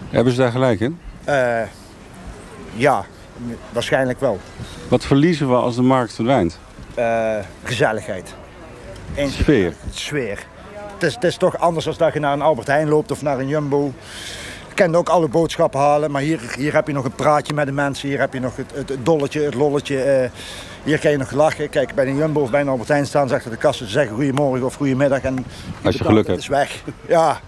[SPEAKER 1] Hebben ze daar gelijk in?
[SPEAKER 17] Eh, ja, waarschijnlijk wel.
[SPEAKER 1] Wat verliezen we als de markt verdwijnt?
[SPEAKER 17] Eh, gezelligheid. Eens
[SPEAKER 1] Sfeer.
[SPEAKER 17] sfeer. Het is, het is toch anders als dat je naar een Albert Heijn loopt of naar een Jumbo. Je kan ook alle boodschappen halen, maar hier, hier heb je nog een praatje met de mensen. Hier heb je nog het, het, het dolletje, het lolletje. eh, hier kan je nog lachen. Kijk, bij een Jumbo of bij een Albert Heijn staan ze achter de kassen. Ze zeggen goedemorgen of goedemiddag. En
[SPEAKER 1] Als je
[SPEAKER 17] betaalt,
[SPEAKER 1] geluk
[SPEAKER 17] het
[SPEAKER 1] hebt.
[SPEAKER 17] is weg. Ja.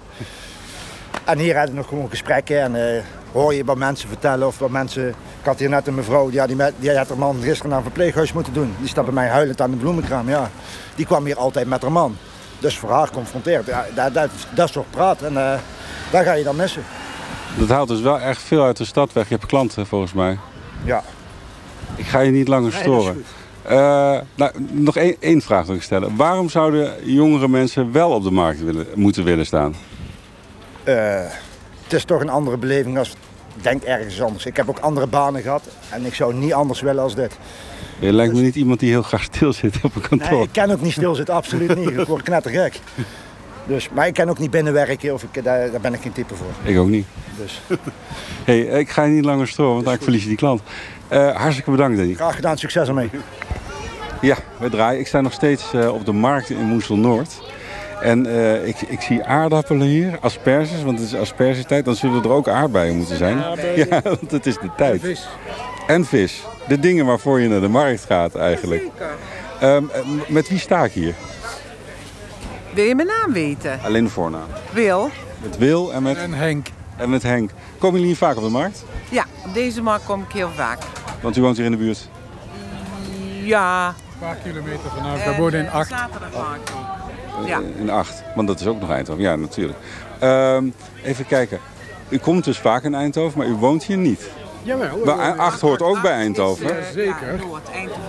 [SPEAKER 17] En hier hadden we nog gewoon gesprekken en eh, hoor je wat mensen vertellen of wat mensen... Ik had hier net een mevrouw, ja, die, met- die had haar man gisteren naar een verpleeghuis moeten doen. Die staat bij mij huilend aan de bloemenkraam, ja. Die kwam hier altijd met haar man. Dus voor haar confronteerd. Ja, dat, dat, dat soort praat en eh daar ga je dan missen.
[SPEAKER 1] Dat haalt dus wel echt veel uit de stad weg. Je hebt klanten volgens mij.
[SPEAKER 17] Ja.
[SPEAKER 1] Ik ga je niet langer
[SPEAKER 17] Nee, dat is
[SPEAKER 1] storen. Eh, nou, nog één, één vraag wil ik stellen. Waarom zouden jongere mensen wel op de markt willen, moeten willen staan?
[SPEAKER 17] Eh, het is toch een andere beleving als... Denk ergens anders. Ik heb ook andere banen gehad en ik zou niet anders willen als dit.
[SPEAKER 1] Je lijkt me niet iemand die heel graag stilzit op een kantoor.
[SPEAKER 17] Nee, ik kan ook niet stilzitten, absoluut niet. Ik word knettergek. Dus, maar ik kan ook niet binnenwerken, of ik, daar, daar ben ik geen type voor.
[SPEAKER 1] Ik ook niet.
[SPEAKER 17] Dus.
[SPEAKER 1] Hey, ik ga je niet langer storen, want dan verlies je die klant. Eh, hartstikke bedankt, Danny.
[SPEAKER 17] Graag gedaan, succes ermee.
[SPEAKER 1] Ja, we draaien. Ik sta nog steeds eh, op de markt in Moesel Noord. En eh, ik, ik zie aardappelen hier, asperges, want het is aspergetijd. Dan zullen er ook aardbeien moeten zijn.
[SPEAKER 3] Aardbeien.
[SPEAKER 1] Ja, want het is de tijd. En vis. De dingen waarvoor je naar de markt gaat eigenlijk. Ehm, eh, m- met wie sta ik hier?
[SPEAKER 16] Wil je mijn naam weten?
[SPEAKER 1] Alleen de voornaam.
[SPEAKER 16] Wil?
[SPEAKER 1] Met Wil en met...
[SPEAKER 2] En Henk.
[SPEAKER 1] En met Henk. Komen jullie hier vaak op de markt?
[SPEAKER 16] Ja, op deze markt kom ik heel vaak.
[SPEAKER 1] Want u woont hier in de buurt.
[SPEAKER 16] Ja. Eh, Een
[SPEAKER 2] paar kilometer vanaf.
[SPEAKER 16] Daar worden in
[SPEAKER 2] acht.
[SPEAKER 16] Zaterdagmarkt ook. Ja.
[SPEAKER 1] In Eh, acht. Want dat is ook nog Eindhoven. Ja, natuurlijk. Ehm, even kijken. U komt dus vaak in Eindhoven, maar u woont hier niet.
[SPEAKER 16] Jawel.
[SPEAKER 1] Maar A- acht hoort ook bij Eindhoven. hè?
[SPEAKER 16] zeker. Noord, Eindhoven.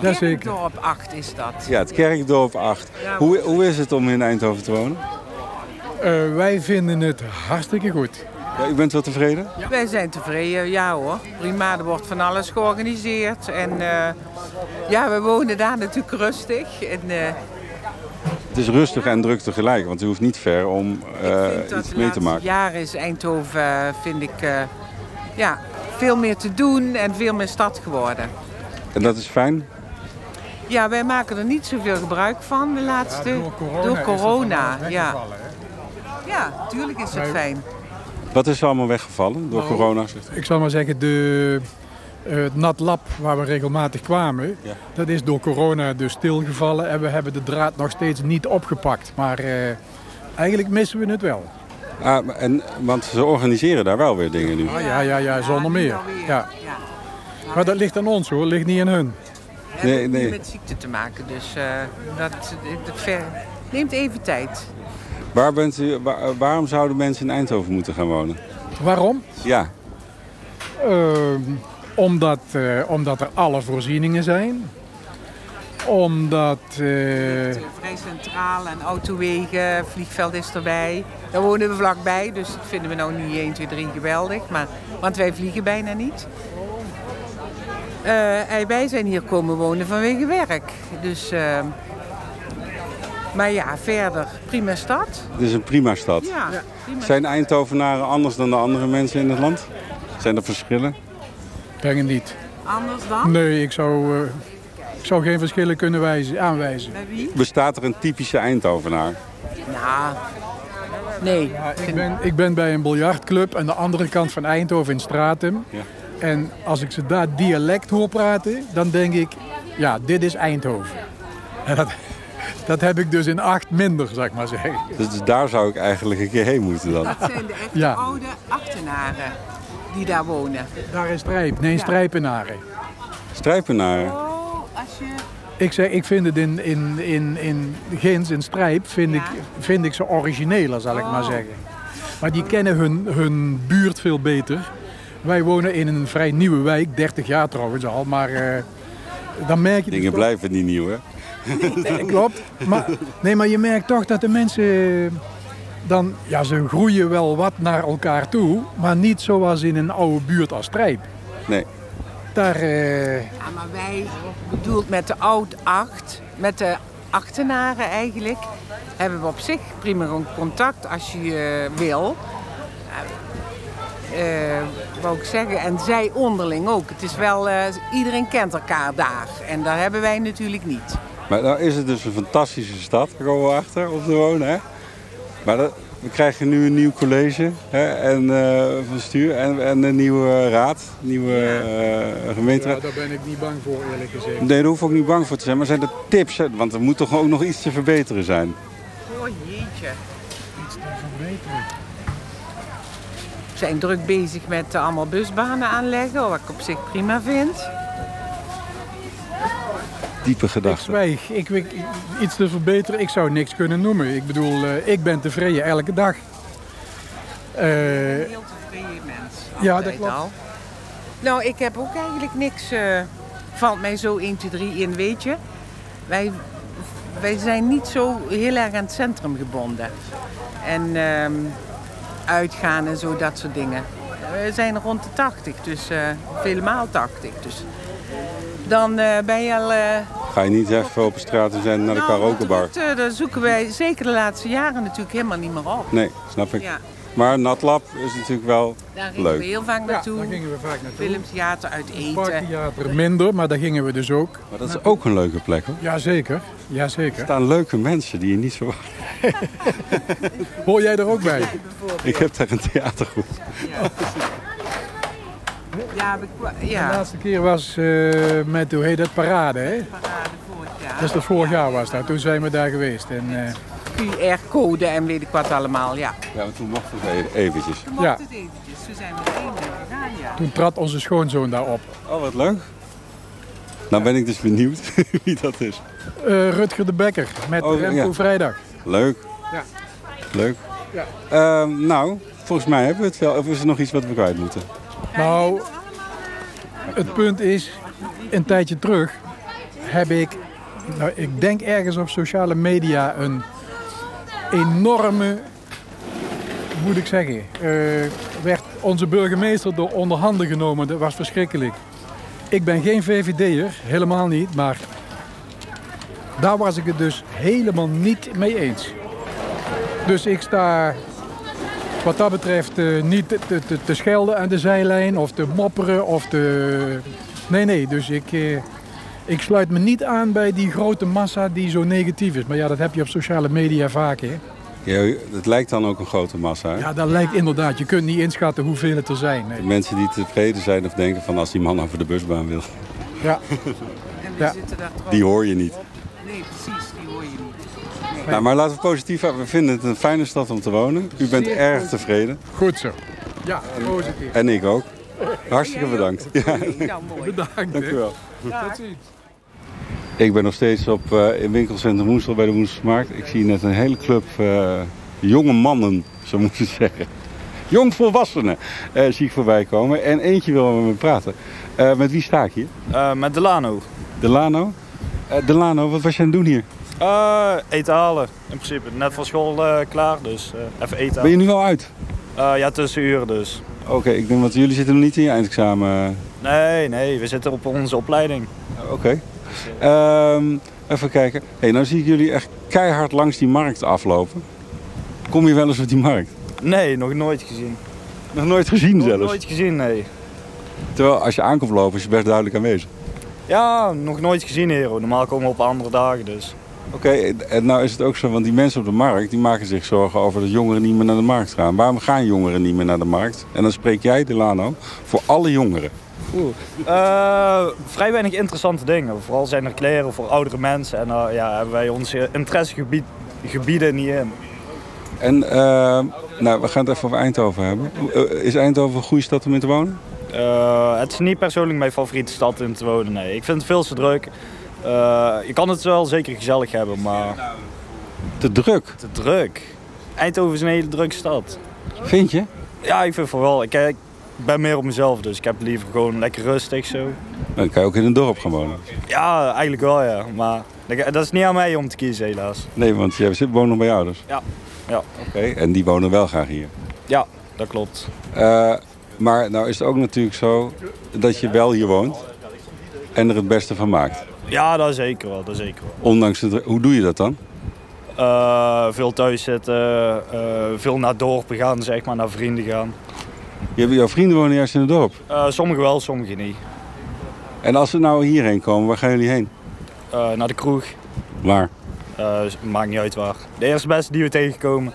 [SPEAKER 1] Ja, zeker.
[SPEAKER 16] Kerkdorp 8 is dat.
[SPEAKER 1] Ja, het kerkdorp 8.
[SPEAKER 16] eh, Ja.
[SPEAKER 1] Hoe, hoe is het om in Eindhoven te wonen?
[SPEAKER 2] Eh, wij vinden het hartstikke goed.
[SPEAKER 1] Ja, u bent wel tevreden?
[SPEAKER 16] Wij zijn tevreden, ja hoor. Prima, er wordt van alles georganiseerd. En eh, ja, we wonen daar natuurlijk rustig. En eh,
[SPEAKER 1] Het is rustig en druk tegelijk, want u hoeft niet ver om eh, iets
[SPEAKER 16] de
[SPEAKER 1] mee te
[SPEAKER 16] laatste
[SPEAKER 1] maken.
[SPEAKER 16] jaren is Eindhoven, eh, vind ik, eh, ja, veel meer te doen en veel meer stad geworden.
[SPEAKER 1] En dat is fijn.
[SPEAKER 16] Ja, wij maken er niet zoveel gebruik van de laatste...
[SPEAKER 2] door corona
[SPEAKER 16] door
[SPEAKER 2] is het
[SPEAKER 16] corona,
[SPEAKER 2] allemaal
[SPEAKER 16] ja.
[SPEAKER 2] weggevallen,
[SPEAKER 16] Ja, tuurlijk is het
[SPEAKER 2] Maar-
[SPEAKER 16] fijn.
[SPEAKER 1] Wat is er allemaal weggevallen door
[SPEAKER 16] Oh.
[SPEAKER 2] Nou,
[SPEAKER 1] corona? zegt u?
[SPEAKER 2] Ik zal maar zeggen, de, eh, het nat lab waar we regelmatig kwamen, dat is door corona dus stilgevallen. En we hebben de draad nog steeds niet opgepakt. Maar eh, eigenlijk missen we het wel.
[SPEAKER 1] Ah, maar- en, want ze organiseren daar wel weer dingen nu.
[SPEAKER 16] Oh,
[SPEAKER 2] Ah, ja, ja, ja, zonder meer. Ja. Maar dat ligt aan ons hoor, ligt niet aan hun.
[SPEAKER 1] Nee,
[SPEAKER 16] Niet
[SPEAKER 1] nee.
[SPEAKER 16] met ziekte te maken, dus eh, dat, dat ver... neemt even tijd.
[SPEAKER 1] Waar bent u, waar- waarom zouden mensen in Eindhoven moeten gaan wonen?
[SPEAKER 2] Waarom?
[SPEAKER 1] Ja,
[SPEAKER 2] Ehm, omdat, eh, omdat er alle voorzieningen zijn. Omdat... eh,
[SPEAKER 16] Vrij centraal en autowegen, vliegveld is erbij. Daar wonen we vlakbij, dus dat vinden we nou niet 1, 2, 3 geweldig. Maar, want wij vliegen bijna niet. Eh, en wij zijn hier komen wonen vanwege werk. Dus, eh, maar ja, verder, prima stad.
[SPEAKER 1] het is een prima stad.
[SPEAKER 16] Ja, prima.
[SPEAKER 1] Zijn Eindhovenaren anders dan de andere mensen in het land? Zijn er verschillen?
[SPEAKER 2] Ik denk het niet.
[SPEAKER 16] Anders dan?
[SPEAKER 2] Nee, ik zou, eh, ik zou geen verschillen kunnen wijzen, aanwijzen.
[SPEAKER 1] Bestaat er een typische Eindhovenaar?
[SPEAKER 16] Nou, nee.
[SPEAKER 2] ik, ben, ik ben bij een biljartclub aan de andere kant van Eindhoven in Stratum. En als ik ze daar dialect hoor praten, dan denk ik, ja, dit is Eindhoven. En dat, dat heb ik dus in acht minder, zou ik maar zeggen.
[SPEAKER 1] Dus daar zou ik eigenlijk een keer heen moeten dan.
[SPEAKER 16] Dat zijn de echte
[SPEAKER 2] Ja.
[SPEAKER 16] oude achtenaren die daar wonen.
[SPEAKER 2] Daar is Strijp, nee, strijpenaren.
[SPEAKER 1] Strijpenaren.
[SPEAKER 16] Oh. Als je
[SPEAKER 2] Ik, zeg, ik vind het in, in, in, in Gins, in Strijp, vind, ik, vind ik ze origineler, zal ik maar zeggen. Maar die kennen hun, hun buurt veel beter. Wij wonen in een vrij nieuwe wijk, 30 jaar trouwens al, maar eh, dan merk je...
[SPEAKER 1] Dingen blijven niet nieuw, hè?
[SPEAKER 2] Nee, klopt. Maar, nee, maar je merkt toch dat de mensen dan... Ja, ze groeien wel wat naar elkaar toe, maar niet zoals in een oude buurt als Strijp.
[SPEAKER 1] Nee.
[SPEAKER 2] Daar... eh,
[SPEAKER 16] Ja, maar wij, bedoeld met de oud-acht, met de achtenaren eigenlijk, hebben we op zich prima gewoon contact als je eh, wil. Eh, eh, wou ik zeggen, en zij onderling ook. Het is wel, eh, iedereen kent elkaar daar. En daar hebben wij natuurlijk niet.
[SPEAKER 1] Maar nou is het dus een fantastische stad, daar komen we achter, om te wonen. Hè? Maar dat, we krijgen nu een nieuw college hè, en, eh, van stuur en, en een nieuwe raad, nieuwe eh, gemeenteraad.
[SPEAKER 2] daar ben ik niet bang voor, eerlijk gezegd.
[SPEAKER 1] Nee, daar hoef ik niet bang voor te zijn. Maar zijn er tips? Hè? Want er moet toch ook nog iets te verbeteren zijn?
[SPEAKER 16] Oh jeetje. Iets te verbeteren. We zijn druk bezig met eh, allemaal busbanen aanleggen, wat ik op zich prima vind.
[SPEAKER 1] Diepe
[SPEAKER 2] Ik
[SPEAKER 1] gedachten.
[SPEAKER 2] zwijg. Ik, ik, iets te verbeteren, ik zou niks kunnen noemen. Ik bedoel, eh, ik ben tevreden elke dag. Eh,
[SPEAKER 16] Heel tevreden mens.
[SPEAKER 2] ja, dat
[SPEAKER 16] altijd
[SPEAKER 2] klopt.
[SPEAKER 16] al. Nou, ik heb ook eigenlijk niks. eh, valt mij zo 1, 2, 3 in, weet je. Wij, wij zijn niet zo heel erg aan het centrum gebonden. En ehm, uitgaan en zo, dat soort dingen. We zijn rond de 80, dus eh vele maal 80. Dus dan eh, ben je al. eh,
[SPEAKER 1] Ga je niet even op straat en zijn naar de
[SPEAKER 16] nou,
[SPEAKER 1] karaokebar?
[SPEAKER 16] dat, eh, daar zoeken wij zeker de laatste jaren natuurlijk helemaal niet meer op.
[SPEAKER 1] Nee, snap ik.
[SPEAKER 16] Ja.
[SPEAKER 1] Maar Natlab is natuurlijk wel
[SPEAKER 16] Daar gingen we
[SPEAKER 1] leuk.
[SPEAKER 16] heel vaak naartoe. daar gingen
[SPEAKER 2] we vaak naartoe.
[SPEAKER 16] Filmtheater, uit eten.
[SPEAKER 2] Theater minder, maar daar gingen we dus ook.
[SPEAKER 1] Maar dat is ook een leuke plek hoor.
[SPEAKER 2] Jazeker,
[SPEAKER 1] Er
[SPEAKER 2] jazeker.
[SPEAKER 1] staan leuke mensen die je niet verwacht.
[SPEAKER 2] Hoor jij er ook bij?
[SPEAKER 1] Ik heb daar een theatergroep.
[SPEAKER 16] Ja, we kwa- ja.
[SPEAKER 2] De laatste keer was eh, met, hoe heet dat, parade, hè?
[SPEAKER 16] Parade vorig jaar.
[SPEAKER 2] Dus dat vorig jaar was dat. Toen zijn we daar geweest. En, eh,
[SPEAKER 16] QR-code en weet ik wat allemaal, ja.
[SPEAKER 1] Ja, maar toen mochten we even- eventjes.
[SPEAKER 16] Toen mocht het eventjes. Toen zijn we er één keer gegaan, ja.
[SPEAKER 2] toen trad onze schoonzoon daar op.
[SPEAKER 1] Oh, wat leuk. Nou ben ik dus benieuwd wie dat is.
[SPEAKER 2] Eh, Rutger de Bekker met
[SPEAKER 1] Oh, ja.
[SPEAKER 2] Remco Vrijdag.
[SPEAKER 1] Leuk.
[SPEAKER 2] Ja.
[SPEAKER 1] Leuk.
[SPEAKER 2] Ja.
[SPEAKER 1] Ehm, nou, volgens mij hebben we het wel. Of is er nog iets wat we kwijt moeten?
[SPEAKER 2] Nou, het punt is, een tijdje terug heb ik, nou, ik denk ergens op sociale media, een enorme, hoe moet ik zeggen, eh, werd onze burgemeester door onder handen genomen. Dat was verschrikkelijk. Ik ben geen VVD'er, helemaal niet, maar daar was ik het dus helemaal niet mee eens. Dus ik sta wat dat betreft eh, niet te, te, te schelden aan de zijlijn of te mopperen of te... Nee, nee, dus ik, eh, ik sluit me niet aan bij die grote massa die zo negatief is. Maar ja, dat heb je op sociale media vaak, hè.
[SPEAKER 1] Ja, het lijkt dan ook een grote massa. hè?
[SPEAKER 2] Ja, dat lijkt inderdaad. Je kunt niet inschatten hoeveel het er zijn. Nee.
[SPEAKER 1] Mensen die tevreden zijn of denken van als die man over de busbaan wil.
[SPEAKER 2] Ja.
[SPEAKER 16] En we
[SPEAKER 2] Ja.
[SPEAKER 16] zitten daar trouwens
[SPEAKER 1] Die hoor je niet.
[SPEAKER 16] Nee, precies, die hoor je niet. Nee.
[SPEAKER 1] Nou, maar laten we positief houden. We vinden het een fijne stad om te wonen. U bent
[SPEAKER 2] Zeer
[SPEAKER 1] erg
[SPEAKER 2] positief.
[SPEAKER 1] tevreden.
[SPEAKER 2] Goed zo. Ja, positief.
[SPEAKER 1] En ik ook. Hartstikke bedankt. Ja.
[SPEAKER 16] Nou, mooi.
[SPEAKER 2] Bedankt.
[SPEAKER 1] Dank u wel.
[SPEAKER 2] Tot
[SPEAKER 1] Ik ben nog steeds op, eh, in winkelcentrum Woensel bij de Woenselsmarkt. Ik zie net een hele club eh, jonge mannen, zo moet je het zeggen. Jongvolwassenen eh, zie ik voorbij komen. En eentje wil met me praten. Eh, met wie sta ik hier?
[SPEAKER 18] Eh, met Delano.
[SPEAKER 1] Delano? Eh, Delano, wat was je aan het doen hier?
[SPEAKER 18] Eh eten halen, in principe. Net van school eh, klaar, dus eh, even eten
[SPEAKER 1] Ben je nu al uit?
[SPEAKER 18] halen. Eh, ja, tussen uren dus.
[SPEAKER 1] Oké, ik denk, want jullie zitten nog niet in je eindexamen. eh,
[SPEAKER 18] Nee, nee, we zitten op onze opleiding.
[SPEAKER 1] Oké. Ehm, even kijken. Hé, nou zie ik jullie echt keihard langs die markt aflopen. Kom je wel eens op die markt?
[SPEAKER 18] Nee, nog nooit gezien.
[SPEAKER 1] Nog nooit gezien
[SPEAKER 18] Nog
[SPEAKER 1] zelfs?
[SPEAKER 18] nooit gezien, nee.
[SPEAKER 1] Terwijl als je aankomt lopen is je best duidelijk aanwezig.
[SPEAKER 18] Ja, nog nooit gezien, Hero. Normaal komen we op andere dagen dus.
[SPEAKER 1] Oké, en nou is het ook zo, want die mensen op de markt die maken zich zorgen over dat jongeren niet meer naar de markt gaan. Waarom gaan jongeren niet meer naar de markt? En dan spreek jij, Delano, voor alle jongeren.
[SPEAKER 18] Oeh. Eh, vrij weinig interessante dingen. Vooral zijn er kleren voor oudere mensen. En eh, ja, hebben wij onze interessegebieden niet in.
[SPEAKER 1] En ehm, nou, we gaan het even over Eindhoven hebben. Eh, Is Eindhoven een goede stad om in te wonen?
[SPEAKER 18] Eh, het is niet persoonlijk mijn favoriete stad in te wonen. Nee, ik vind het veel te druk. Eh, je kan het wel zeker gezellig hebben, maar.
[SPEAKER 1] Te druk?
[SPEAKER 18] Te druk. Eindhoven is een hele drukke stad.
[SPEAKER 1] Vind je?
[SPEAKER 18] Ja, ik vind vooral. Ik, eh, ik ben meer op mezelf, dus ik heb liever gewoon lekker rustig zo.
[SPEAKER 1] Dan kan je ook in een dorp gaan wonen.
[SPEAKER 18] Ja, eigenlijk wel ja, maar dat dat is niet aan mij om te kiezen helaas.
[SPEAKER 1] Nee, want jij zit woont nog bij je ouders.
[SPEAKER 18] Ja, ja.
[SPEAKER 1] Oké, en die wonen wel graag hier.
[SPEAKER 18] ja dat klopt.
[SPEAKER 1] Eh, maar nou is het ook natuurlijk zo dat je wel hier woont en er het beste van maakt.
[SPEAKER 18] Ja, dat zeker wel, dat zeker wel.
[SPEAKER 1] Ondanks de dru- Hoe doe je dat dan?
[SPEAKER 18] Eh, veel thuis zitten, eh, veel naar dorpen gaan, zeg maar, naar vrienden gaan.
[SPEAKER 1] Je hebt- jouw vrienden wonen juist in het dorp.
[SPEAKER 18] Eh sommigen wel, sommigen niet.
[SPEAKER 1] En als ze nou hierheen komen, waar gaan jullie heen?
[SPEAKER 18] Eh, naar de kroeg,
[SPEAKER 1] Waar?
[SPEAKER 18] Eh, maakt niet uit waar. De eerste beste die we tegenkomen.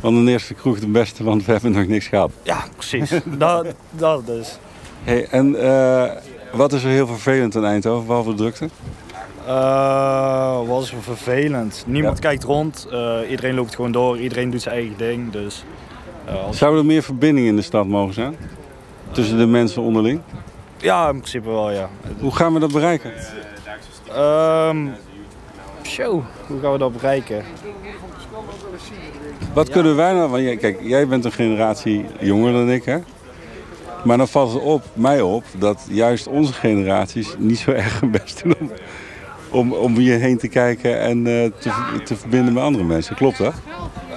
[SPEAKER 1] Want de eerste kroeg de beste, want we hebben nog niks gehad.
[SPEAKER 18] Ja, precies. dat, dat dus.
[SPEAKER 1] Hey, en eh, wat is er heel vervelend in Eindhoven, behalve de drukte?
[SPEAKER 18] Eh was vervelend. Niemand kijkt rond. eh, iedereen loopt gewoon door. Iedereen doet zijn eigen ding. Dus, eh, als-
[SPEAKER 1] Zou er meer verbinding in de stad mogen zijn? Tussen de mensen onderling?
[SPEAKER 18] Ja, in principe wel, ja.
[SPEAKER 1] Hoe gaan we dat bereiken?
[SPEAKER 18] Ehm zo, hoe gaan we dat bereiken?
[SPEAKER 1] Wat kunnen wij nou? Want jij, kijk, jij bent een generatie jonger dan ik, hè? Maar dan valt het op, mij op dat juist onze generaties niet zo erg hun best doen om, om, om hier heen te kijken en eh, te, te verbinden met andere mensen. Klopt dat?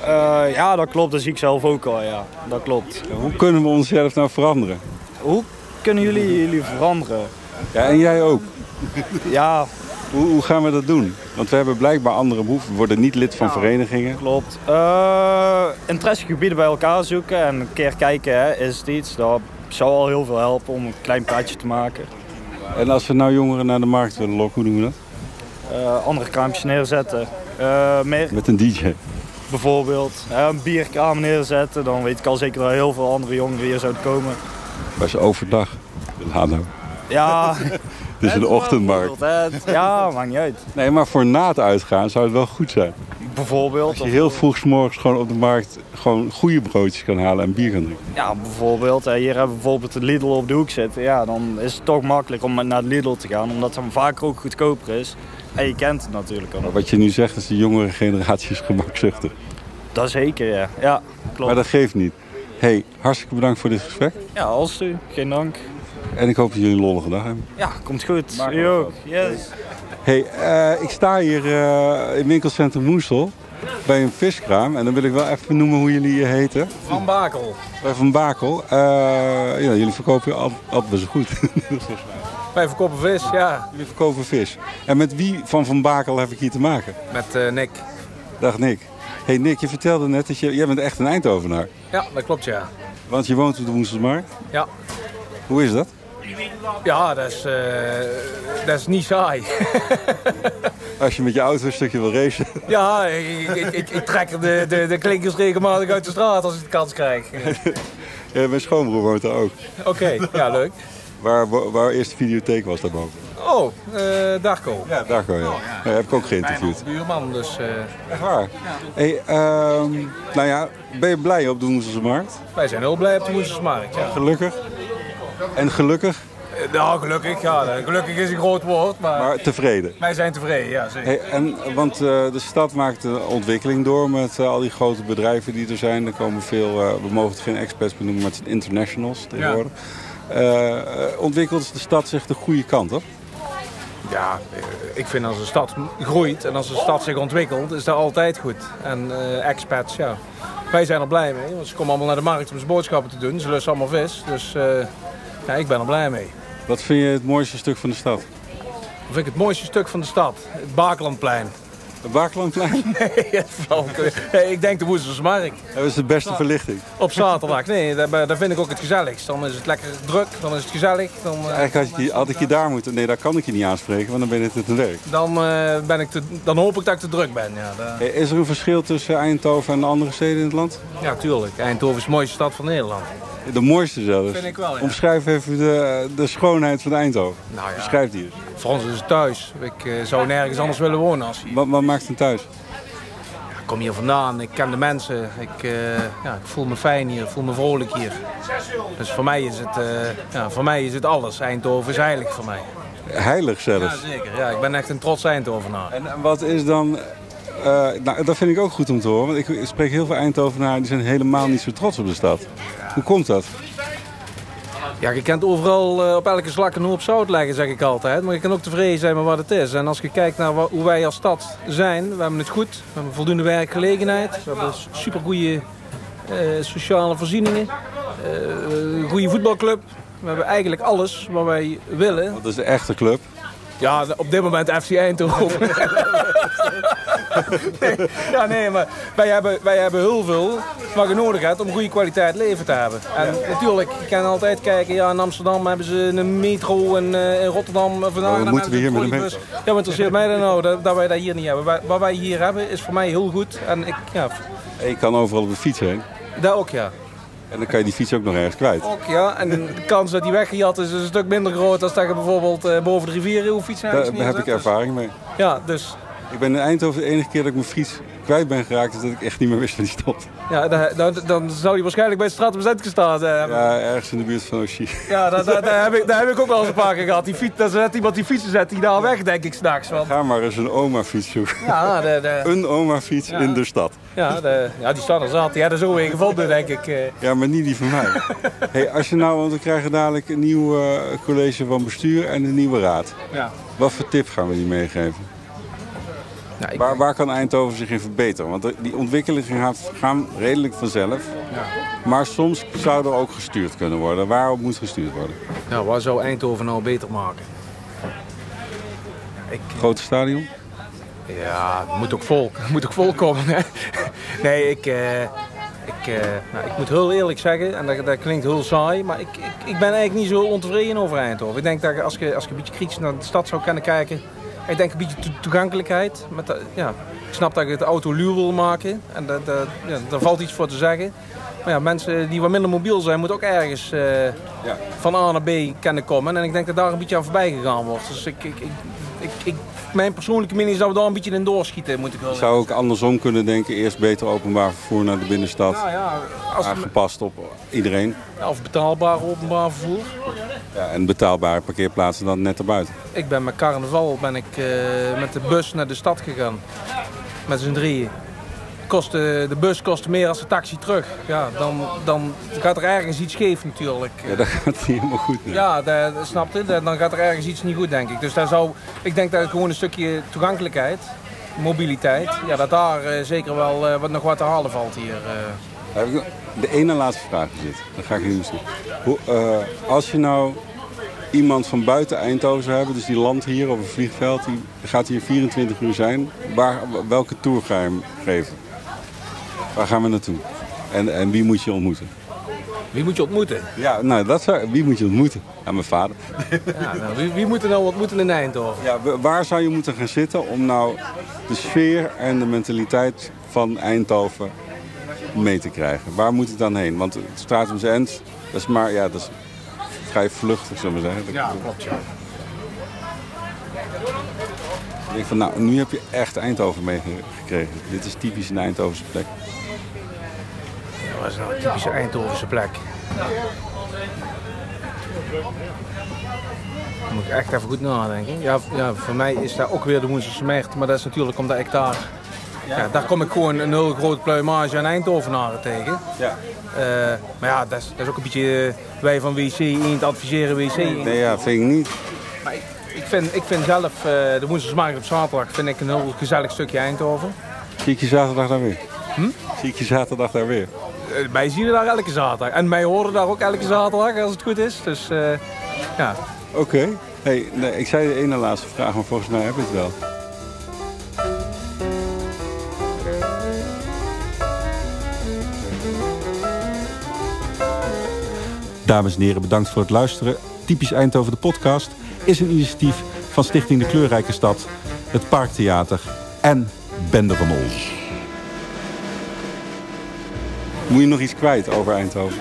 [SPEAKER 18] Eh, ja, dat klopt. Dat zie ik zelf ook al, ja. Dat klopt.
[SPEAKER 1] Hoe kunnen we onszelf nou veranderen?
[SPEAKER 18] Hoe kunnen jullie jullie veranderen?
[SPEAKER 1] Ja, en jij ook.
[SPEAKER 18] Ja.
[SPEAKER 1] Hoe, hoe gaan we dat doen? Want we hebben blijkbaar andere behoeften. We worden niet lid van verenigingen.
[SPEAKER 18] Klopt. Eh, interessegebieden bij elkaar zoeken en een keer kijken, hè, is het iets. Dat zou al heel veel helpen om een klein plaatje te maken.
[SPEAKER 1] En als we nou jongeren naar de markt willen lokken, hoe doen we dat?
[SPEAKER 18] Eh, andere kraampjes neerzetten. Eh, meer
[SPEAKER 1] Met een DJ.
[SPEAKER 18] bijvoorbeeld eh, een bierkraam neerzetten. Dan weet ik al zeker dat heel veel andere jongeren hier zouden komen.
[SPEAKER 1] Maar is overdag. nou. De Lano.
[SPEAKER 18] Ja.
[SPEAKER 1] Het is een ochtendmarkt.
[SPEAKER 18] Ja, maakt niet uit.
[SPEAKER 1] Nee, maar voor na het uitgaan zou het wel goed zijn.
[SPEAKER 18] Bijvoorbeeld.
[SPEAKER 1] Als je heel vroeg 's morgens gewoon op de markt gewoon goede broodjes kan halen en bier kan drinken.
[SPEAKER 18] Ja, bijvoorbeeld. eh, Hier hebben we bijvoorbeeld de Lidl op de hoek zitten. Ja, dan is het toch makkelijk om naar de Lidl te gaan. Omdat het dan vaker ook goedkoper is. En je kent het natuurlijk al.
[SPEAKER 1] Maar wat je nu zegt is de jongere generatie is gemakzuchtig.
[SPEAKER 18] Dat zeker, ja. Ja, klopt.
[SPEAKER 1] Maar dat geeft niet. hey, hartstikke bedankt voor dit gesprek.
[SPEAKER 18] Ja, als u. Geen dank.
[SPEAKER 1] En ik hoop dat jullie een lollige dag hebben.
[SPEAKER 18] Ja, komt goed.
[SPEAKER 13] Maak
[SPEAKER 18] U
[SPEAKER 13] wel
[SPEAKER 18] ook.
[SPEAKER 13] wat.
[SPEAKER 18] Yes.
[SPEAKER 1] hey, eh, ik sta hier eh, in winkelcentrum Moesel bij een viskraam. En dan wil ik wel even noemen hoe jullie hier heten.
[SPEAKER 13] Van Bakel.
[SPEAKER 1] Bij Van Bakel. Eh, ja, jullie verkopen hier altijd altijd best goed.
[SPEAKER 13] Wij verkopen vis, ja.
[SPEAKER 1] jullie verkopen vis. En met wie van Van Bakel heb ik hier te maken?
[SPEAKER 13] Met eh, Nick.
[SPEAKER 1] Dag Nick. hey Nick, je vertelde net dat je... Jij bent echt een Eindhovenaar.
[SPEAKER 13] Ja, dat klopt, ja.
[SPEAKER 1] Want je woont op de Woenselsmarkt.
[SPEAKER 13] Ja,
[SPEAKER 1] Hoe is dat?
[SPEAKER 13] ja dat, is, eh, dat is niet saai.
[SPEAKER 1] Als je met je auto een stukje wil racen.
[SPEAKER 13] ja, ik, ik, ik, ik trek de, de, de klinkers regelmatig uit de straat als ik de kans krijg.
[SPEAKER 1] Ja, mijn schoonbroer woont daar ook.
[SPEAKER 13] Oké, ja, leuk.
[SPEAKER 1] Waar, waar, waar eerst de videotheek was daarboven.
[SPEAKER 13] Oh, eh Darko. Ja,
[SPEAKER 1] Daar gewoon, ja. Nee, heb ik ook geïnterviewd.
[SPEAKER 13] buurman, dus... eh,
[SPEAKER 1] Echt waar? Hey, ehm, nou ja, ben je blij op de Woenselse Markt?
[SPEAKER 13] wij zijn heel blij op de Woensdagsmarkt, ja.
[SPEAKER 1] Gelukkig. En gelukkig,
[SPEAKER 13] Eh, Nou, gelukkig, ja. Gelukkig is een groot woord, maar...
[SPEAKER 1] maar tevreden.
[SPEAKER 13] Wij zijn tevreden, ja, zeker.
[SPEAKER 1] Hey, en, want eh, de stad maakt een ontwikkeling door met eh, al die grote bedrijven die er zijn. Er komen veel, eh, we mogen het geen experts benoemen, maar het zijn internationals tegenwoordig. Eh, eh, ontwikkelt de stad zich de goede kant op?
[SPEAKER 13] Ja, eh, ik vind als een stad groeit en als een stad zich ontwikkelt, is dat altijd goed. En eh, expats, ja. Wij zijn er blij mee, want ze komen allemaal naar de markt om ze boodschappen te doen. Ze lusten allemaal vis, dus eh, ja, ik ben er blij mee.
[SPEAKER 1] Wat vind je het mooiste stuk van de stad?
[SPEAKER 13] Dat vind ik het mooiste stuk van de stad, het Bakelandplein.
[SPEAKER 1] Het Bakelandplein?
[SPEAKER 13] Nee, het flauwekul. Nee, ik denk de Woestersmarkt.
[SPEAKER 1] Dat is de beste verlichting.
[SPEAKER 13] Op zaterdag, nee, daar, ben- daar vind ik ook het gezelligst. Dan is het lekker druk, dan is het gezellig. Dan, eh,
[SPEAKER 1] Eigenlijk had, ik je, had ik je daar moeten... Nee, daar kan ik je niet aanspreken, want dan ben je net te werk.
[SPEAKER 13] dan, eh, ben ik te, dan hoop ik dat ik te druk ben. Ja, daar-
[SPEAKER 1] Hey, Is er een verschil tussen Eindhoven en de andere steden in het land?
[SPEAKER 13] ja tuurlijk. Eindhoven is de mooiste stad van Nederland.
[SPEAKER 1] De mooiste zelfs.
[SPEAKER 13] Vind ik wel, ja.
[SPEAKER 1] Omschrijf even de, de schoonheid van Eindhoven.
[SPEAKER 13] Nou ja.
[SPEAKER 1] Beschrijf die eens.
[SPEAKER 13] Voor ons is het thuis. Ik eh, zou nergens anders willen wonen als hier.
[SPEAKER 1] Wat, wat maakt het thuis?
[SPEAKER 13] Ik kom hier vandaan, ik ken de mensen. Ik, eh, ja, ik voel me fijn hier, ik voel me vrolijk hier. Dus voor mij is het, eh, ja, voor mij is het alles. Eindhoven is heilig voor mij.
[SPEAKER 1] Heilig zelfs.
[SPEAKER 13] Jazeker, ja, ik ben echt een trots Eindhovenaar.
[SPEAKER 1] En, en wat is dan... eh, nou, dat vind ik ook goed om te horen. Want ik spreek heel veel Eindhovenaren die zijn helemaal niet zo trots op de stad. Hoe komt dat?
[SPEAKER 13] Ja, je kunt overal eh, op elke slak een hoop zout leggen, zeg ik altijd. Maar je kan ook tevreden zijn met wat het is. En als je kijkt naar wa- hoe wij als stad zijn, we hebben het goed. We hebben voldoende werkgelegenheid. We hebben supergoeie eh, sociale voorzieningen. Eh, een goede voetbalclub. We hebben eigenlijk alles wat wij willen.
[SPEAKER 1] Dat is de echte club.
[SPEAKER 13] Ja, op dit moment FC Eindhoven. nee, ja, nee, maar wij hebben, wij hebben heel veel wat je nodig hebt om goede kwaliteit leven te hebben. En natuurlijk, je kan altijd kijken, ja, in Amsterdam hebben ze een metro en eh, in Rotterdam eh, vandaag...
[SPEAKER 1] Maar wat
[SPEAKER 13] dan
[SPEAKER 1] Oh, moeten we
[SPEAKER 13] hebben ze
[SPEAKER 1] hier met een
[SPEAKER 13] trolleybus.
[SPEAKER 1] metro?
[SPEAKER 13] Ja, maar interesseert mij dan nou dat, dat wij dat hier niet hebben. Wat, wat wij hier hebben is voor mij heel goed en ik, ja,
[SPEAKER 1] Je kan overal op de fiets heen.
[SPEAKER 13] dat ook ja.
[SPEAKER 1] En dan kan je die fiets ook nog ergens kwijt.
[SPEAKER 13] Ook ja, en de kans dat die weggejat is, is een stuk minder groot dan dat je bijvoorbeeld eh, boven de rivieren hoeft fietsen.
[SPEAKER 1] Daar heb ik ervaring mee.
[SPEAKER 13] dus. Ja, dus
[SPEAKER 1] Ik ben in Eindhoven de enige keer dat ik mijn fiets kwijt ben geraakt... is dat ik echt niet meer wist waar die stond.
[SPEAKER 13] Ja, dan, dan, dan zou hij waarschijnlijk bij de straat op zijn tent gestaan hebben. Ja,
[SPEAKER 1] Ja, ergens in de buurt van Oshie.
[SPEAKER 13] daar, daar, daar heb ik, daar heb ik ook wel eens een paar keer gehad. Die fiets, daar zet iemand die fietsen zet die daar weg, denk ik, s'nachts. Want...
[SPEAKER 1] Ga maar eens een oma-fiets zoeken.
[SPEAKER 13] Ja, de, de,
[SPEAKER 1] Een oma-fiets
[SPEAKER 13] Ja.
[SPEAKER 1] in de stad.
[SPEAKER 13] ja, de, ja, die staan er zat. Die hadden zo weer gevonden, denk ik. eh.
[SPEAKER 1] Ja, maar niet die van mij. hey, als je nou, want we krijgen dadelijk een nieuw eh, college van bestuur en een nieuwe raad.
[SPEAKER 13] Ja.
[SPEAKER 1] Wat voor tip gaan we die meegeven? waar, waar kan Eindhoven zich in verbeteren? Want de- die ontwikkelingen gaan, gaan redelijk vanzelf. Maar soms zou er ook gestuurd kunnen worden. Waarop moet gestuurd worden?
[SPEAKER 13] Nou, wat zou Eindhoven nou beter maken?
[SPEAKER 1] Grote stadion?
[SPEAKER 13] Ja, het moet ook vol. Het moet ook vol komen. Hè? Nee, ik, eh, ik, eh, nou, ik moet heel eerlijk zeggen, en dat, dat klinkt heel saai, maar ik, ik, ik ben eigenlijk niet zo ontevreden over Eindhoven. Ik denk dat je, als je als je een beetje kritisch naar de stad zou kunnen kijken, ik denk een beetje to- toegankelijkheid. Met dat- ja, ik snap dat je het auto luw wil maken en dat, dat, ja, daar valt iets voor te zeggen. Maar ja, mensen die wat minder mobiel zijn, moeten ook ergens eh, van A naar B kunnen komen. En ik denk dat daar een beetje aan voorbij gegaan wordt. Dus ik, ik, ik, ik, ik- mijn persoonlijke mening is dat we daar een beetje in doorschieten, moet ik wel
[SPEAKER 1] Ik zou ook andersom kunnen denken. Eerst beter openbaar vervoer naar de binnenstad.
[SPEAKER 13] Nou ja, als het-
[SPEAKER 1] aangepast op iedereen.
[SPEAKER 13] zeggen. Of betaalbaar openbaar vervoer.
[SPEAKER 1] Ja, en betaalbare parkeerplaatsen dan net erbuiten.
[SPEAKER 13] Ik ben met carnaval ben ik, eh, met de bus naar de stad gegaan. Met z'n drieën. Kostte, de bus kostte meer als de taxi terug. Ja, dan, dan gaat er ergens iets scheef natuurlijk.
[SPEAKER 1] Ja, dat gaat niet helemaal goed. nee.
[SPEAKER 13] Ja, dat, dat snap je. Dat- Dan gaat er ergens iets niet goed, denk ik. Dus daar zou, ik denk dat het gewoon een stukje toegankelijkheid, mobiliteit, ja, dat daar eh, zeker wel eh, wat, nog wat te halen valt hier. eh.
[SPEAKER 1] Heb ik nog- de ene laatste vraag is dit. Dan ga ik nu misschien. Hoe, eh, als je nou iemand van buiten Eindhoven zou hebben, dus die landt hier op een vliegveld, die gaat hier 24 uur zijn. Waar, welke tour ga je hem geven? Waar gaan we naartoe? En, en wie moet je ontmoeten?
[SPEAKER 13] Wie moet je ontmoeten?
[SPEAKER 1] Ja, nou, dat zou, wie moet je ontmoeten? Ja, mijn vader.
[SPEAKER 13] Ja, nou, wie, wie moet er nou ontmoeten in Eindhoven?
[SPEAKER 1] Ja, w- waar zou je moeten gaan zitten om nou de sfeer en de mentaliteit van Eindhoven mee te krijgen? Waar moet het dan heen? Want het Stratumse End, dat is maar, ja, dat is vrij vluchtig, zullen we zeggen.
[SPEAKER 2] Ja, klopt, ja.
[SPEAKER 1] Ik denk van, nou, nu heb je echt Eindhoven meegekregen. Dit is typisch een Eindhovense plek.
[SPEAKER 13] Ja, wat is nou een typische Eindhovense plek? Daar moet ik echt even goed nadenken. Ja, v- ja, voor mij is daar ook weer de Woenselse Mecht, maar dat is natuurlijk omdat ik daar... Ja, daar kom ik gewoon een heel groot pluimage aan Eindhovenaren tegen. Eh,
[SPEAKER 1] Ja.
[SPEAKER 13] maar ja, dat is, dat is ook een beetje eh, wij van WC Eend adviseren WC Eend.
[SPEAKER 1] Nee, ja, vind ik niet.
[SPEAKER 13] Maar ik, ik, vind, ik vind zelf eh, de Woensdagmarkt op zaterdag vind ik een heel gezellig stukje Eindhoven.
[SPEAKER 1] Zie ik je zaterdag daar weer?
[SPEAKER 13] Hm?
[SPEAKER 1] Zie ik je zaterdag daar weer?
[SPEAKER 13] Eh, Wij zien het daar elke zaterdag. En wij horen daar ook elke zaterdag als het goed is. Dus eh, ja.
[SPEAKER 1] Oké. Hey, nee, ik zei de ene laatste vraag, maar volgens mij heb ik het wel. Dames en heren, bedankt voor het luisteren. Typisch Eindhoven de podcast is een initiatief van Stichting De Kleurrijke Stad, het Parktheater en Bende van Ons. Moet je nog iets kwijt over Eindhoven?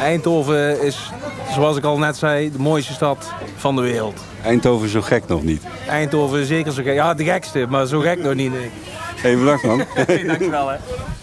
[SPEAKER 13] Eindhoven is, zoals ik al net zei, de mooiste stad van de wereld.
[SPEAKER 1] Eindhoven is zo gek nog niet.
[SPEAKER 13] Eindhoven is zeker zo gek. Ja, de gekste, maar zo gek nog niet. Nee.
[SPEAKER 1] hey, bedankt man.
[SPEAKER 13] Dankjewel hè.